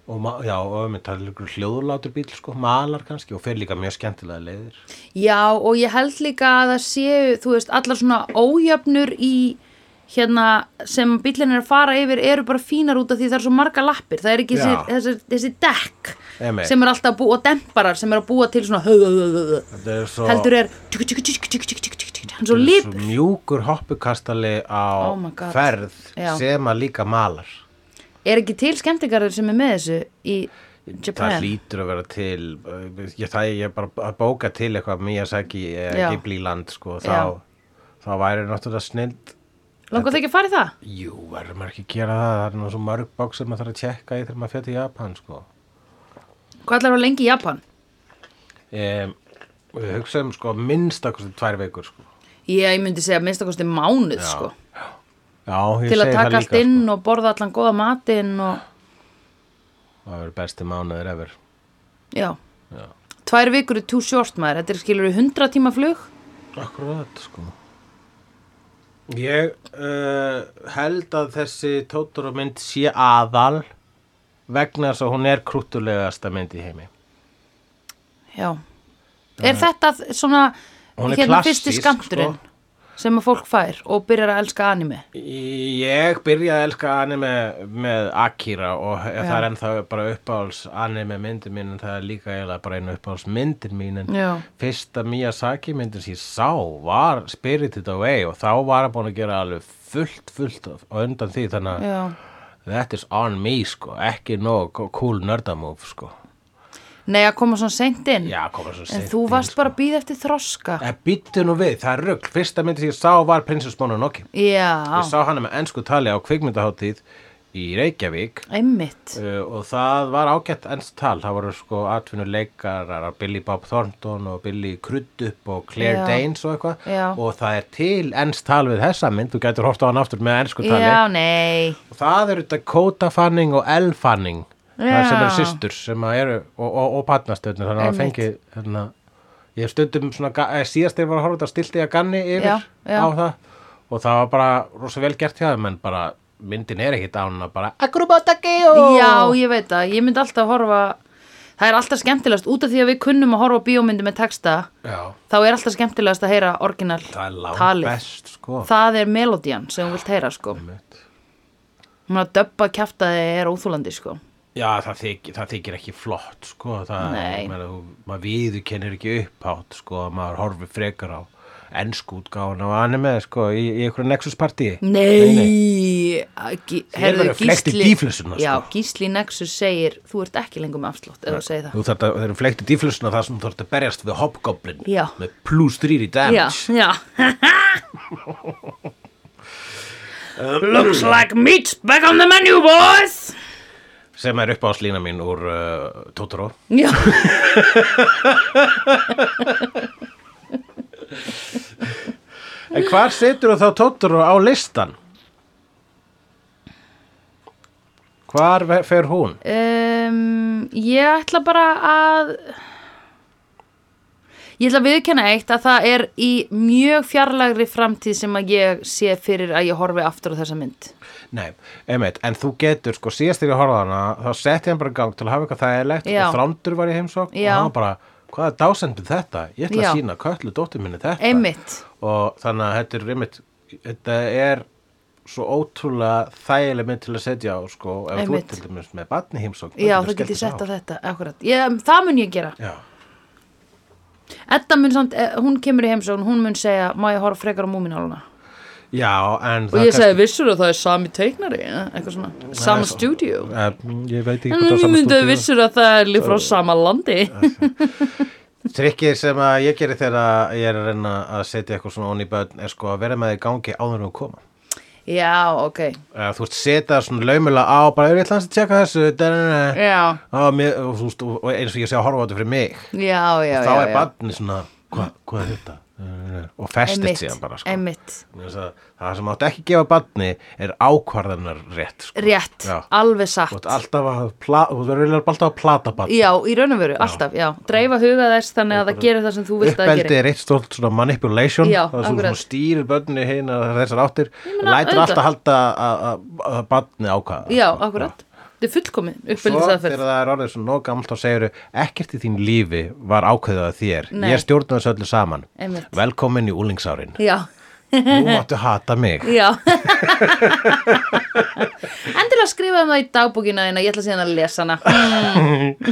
C: og ma- já, og með tala ykkur hljóðulátur bíl sko, malar kannski og fer líka mjög skemmtilega leiðir
B: Já, og ég held líka að það séu, þú veist, allar svona ójöfnur í hérna sem bílinn er að fara yfir eru bara fínar út af því það er svo marga lappir. Það er ekki
C: Já.
B: þessi, þessi, þessi dekk
C: Einmitt.
B: sem er alltaf að búa, og demparar sem er að búa til svona högögögögög.
C: Þetta er svo-
B: Heldur er tjúk, tjúk, tjúk, tjúk, tjúk, tjúk, tjúk, tjúk, hann er svo
C: Þetta er
B: líp.
C: svo mjúkur hoppukastali á
B: Oh my God.
C: ferð
B: Já.
C: sem að líka malar
B: Er ekki til skemmtigarður sem er með þessu í Japan?
C: það hlýtur að vera til uh, ég, það ég er bara að bóka til eitthvað Miyazaki
B: Já.
C: eða Ghibliland sko,
B: Já.
C: þá, þá væri náttúrulega snild
B: Langar þau ekki að fara í það?
C: jú, verður maður ekki að gera það það er nú svo mörg bóks sem maður þarf að tjekka í þegar maður fyrir til Japan sko.
B: Hvað ætlar að lengi í Japan?
C: um, við hugsaðum sko minnstakosti tvær veikur sko.
B: Ég, ég myndi segja minnstakosti mánuð,
C: Já.
B: sko.
C: Já, ég
B: Til að
C: segi það
B: taka allt
C: líka,
B: inn og borða allan góða matinn og...
C: sko. það verður besti mánuður efur
B: Já. Tvær vikur er too short maður, þetta er skilur 100 tíma flug.
C: Akkurat, sko. Ég uh, held að þessi Totoro mynd sé aðal vegna þess að hún er krúttulegasta mynd í heimi.
B: Já. Er þetta þ- svona
C: Hún er
B: hérna
C: klassísk, sko.
B: fyrsti skamturinn sem að fólk fær og byrjar að elska anime?
C: Ég byrjaði að elska anime með Akira og Já. það er ennþá bara uppáhalds anime myndin mín en það er líka eiginlega bara einu uppáhalds myndin mín en
B: Já.
C: fyrsta Miyazaki myndin sem ég sá var Spirited Away og þá var hann búin að gera alveg fullt, fullt á á undan því þannig að
B: Já.
C: That is on me, sko, ekki nóg co- cool nördamove, sko.
B: Nei, að koma svona seint inn.
C: Já, koma
B: en
C: svo seint
B: þú
C: inn,
B: varst
C: sko.
B: bara að býða eftir þroska.
C: En býttu nú við, það er rugg. Fyrsta myndi sem ég sá var Princess Mononoke.
B: Já,
C: Ég sá hana með ennsku tali á kvikmyndaháttíð í Reykjavík
B: einmitt.
C: uh, og það var ágætt ennsku tal. Það voru sko atvinnuleikarar, Billy Bob Thornton og Billy Kruddup og Claire
B: Já.
C: Danes og eitthvað.
B: Já.
C: Og það er til ennsku tal við þessa mynd. Þú gætur hort á hann aftur með ennsku tali.
B: Já, nei.
C: og það eru Dakota Fanning og Elle Fanning
B: Já.
C: það sem eru systur sem að eru, og, og, og patnastöðnir þannig að það
B: Einmitt.
C: fengi hérna, ég hef stundum svona, ga- eh, síðast þegar ég var að horfa þetta stilti ég að ganni yfir
B: Já, já.
C: á það og það var bara rosa vel gert hjá þeim en bara myndin er ekki dána bara Akrobata Geo
B: Já, ég veit það, ég myndi alltaf horfa Það er alltaf skemmtilegast, út af því að við kunnum að horfa á bíómyndi með texta
C: Já,
B: þá er alltaf skemmtilegast að heyra orginal
C: það er langt
B: Talið.
C: best sko
B: Það er melodían sem hún vilt heyra sko
C: Einmitt.
B: Hún að döbba kjaftaði er óþúlandi sko
C: Já, það þykir, það þykir ekki flott sko, það,
B: Nei.
C: Meina, þú, maður viður kennir ekki upphátt sko, að maður horfir frekar á ennsku útgáðan á anime sko, í, í einhverju Nexus partíi
B: Nei, Nei.
C: Ég er bara flekt í dýflissuna, sko.
B: Já, Gísli Nexus segir Þú ert ekki lengur með afslátt ef þú segir það
C: Þú þarft að, þeir eru fleikt í dýflusuna þar sem þú þarft að berjast við hobgoblin
B: Já.
C: með plus 3
B: Já,
C: í damage
B: já Looks like meat's back on the menu boys
C: sem er upp á slína mín úr uh, Totoro
B: Já,
C: En hvar setur þú þá Totoro á listan? Hvar ve- fer hún?
B: um, ég ætla bara að Ég ætla að viðkenna eitt að það er í mjög fjarlægri framtíð sem að ég sé fyrir að ég horfi aftur á þessa mynd.
C: Nei, einmitt, en þú getur sko síðast þegar ég horfði á hana, þá setti hann bara í gang til að hafa eitthvað þægilegt
B: Já.
C: og þrándur var í heimsókn
B: Já.
C: og hann var bara, hvað er dásendur þetta? Ég ætla
B: Já.
C: að sína köllu dóttir minni þetta
B: Einmitt.
C: og þannig að þetta er einmitt, þetta er svo ótrúlega þægileg mynd til að setja á sko, ef þú
B: Einmitt.
C: ert til dæmis með batni heimsókn
B: Já, þá get ég sett á þetta, akkurat. Ég, um, það mun ég gera.
C: Já,
B: Edda mun samt, eh, hún kemur í heimsókn, hún mun segja, má ég horfa frekar á múmináluna?
C: Já en
B: Og ég segi, vissur að það er sami teiknari, eh, eitthvað svona, sama stúdíu.
C: uh, Ég veit ekki
B: En
C: hvort það var
B: ég
C: sama
B: Mm, myndi að
C: stúdíu.
B: vissur að það er líf frá sama landi.
C: Trikkið sem að ég gerir þegar ég er að reyna að setja eitthvað svona onni í börn er sko að vera með því gangi áður um að koma
B: Já, ok.
C: uh, þú veist, setja það svona laumulega á bara, ég ætla hans að tjekka þessu da-da-da-da."
B: Já,
C: Á, mér, og, þú veist, og og eins og ég sé að horfa á þetta fyrir mig
B: já, já.
C: þá
B: já,
C: er
B: já.
C: barni svona, hva, hvað er þetta Da-da-da-da. og festið
B: Einmitt,
C: síðan bara sko.
B: Einmitt,
C: Vegna þess að það sem átt ekki gefa barni er ákvarðanar rétt sko.
B: rétt,
C: Já.
B: alveg
C: þú
B: satt.
C: ert alltaf að pla, þú verður alltaf að plata barni
B: Já, í raun og veru, alltaf, já. Dreifa huga þess þannig að það gerir það sem þú vilt að það
C: uppeldi
B: gerir.
C: er eitt stórt svona manipulation
B: Já,
C: það er svona,
B: akkurat.
C: svona stýrir börni hérna þessar áttir
B: Ég meina,
C: lætur
B: auðvitað.
C: alltaf halda að- að- að barni ákvaða
B: Já, akkurat. Þetta er fullkomið
C: Svo
B: uppbyldisaðferð.
C: þegar það er orðið svona nóg gamalt þá segiru ekkert í þín lífi var ákveðið að þér
B: Nei.
C: ég stjórna þessu öllu saman
B: Einmitt.
C: velkomin í úlingsárin
B: Já,
C: nú máttu hata mig
B: já. Endilega skrifaðum það í dagbókina þína, ég ætla síðan að lesa hana.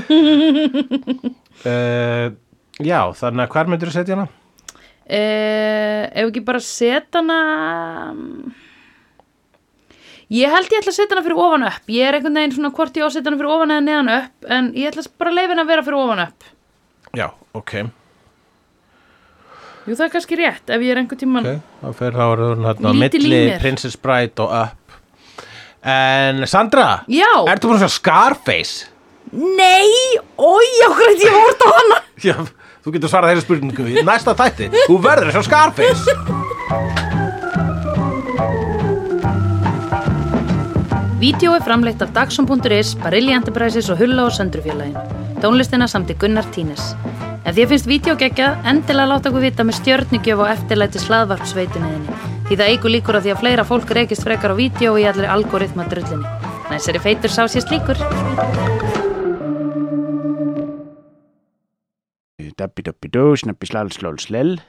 C: uh, já þannig að hvar myndir þú setja hana?
B: Uh, ef ekki bara setja hana... mm. Ég held ég ætla að setja hana fyrir ofan upp. Ég er einhvern veginn svona hvort ég á að setja hana fyrir ofan eða neðan upp, en ég ætla bara að leifa hana að vera fyrir ofan upp.
C: já ok,
B: Jú, það er kannski rétt ef ég er einhver tíman
C: okay. þá fer þá er hún hérna á
B: Lítil í
C: milli
B: mér.
C: Princess Bride og upp en Sandra
B: Já.
C: ertu búin að sjá Scarface?
B: Nei, oi, okkur eitthvað ég hort á hana
C: já, þú getur svarað þessu spurningu í næsta þætti þú verður að sjá Scarface
B: Vídeó er framleitt af Dagsum.is, Barilli Enterprises og Hulla og Söndrufjörlægin Tónlistina samt í Gunnar Tínes Ef þér finnst vídeo geggja, endilega láta okkur vita með stjörnigjöf og eftirlæti slaðvarpsveitunniðinni Því það eigur líkur á því að fleira fólk reykist frekar á vídeo í allri algoritma drullinni Næsari feitur sá sér slíkur
A: Dabbi dabbi dó, snabbi slal slól slell.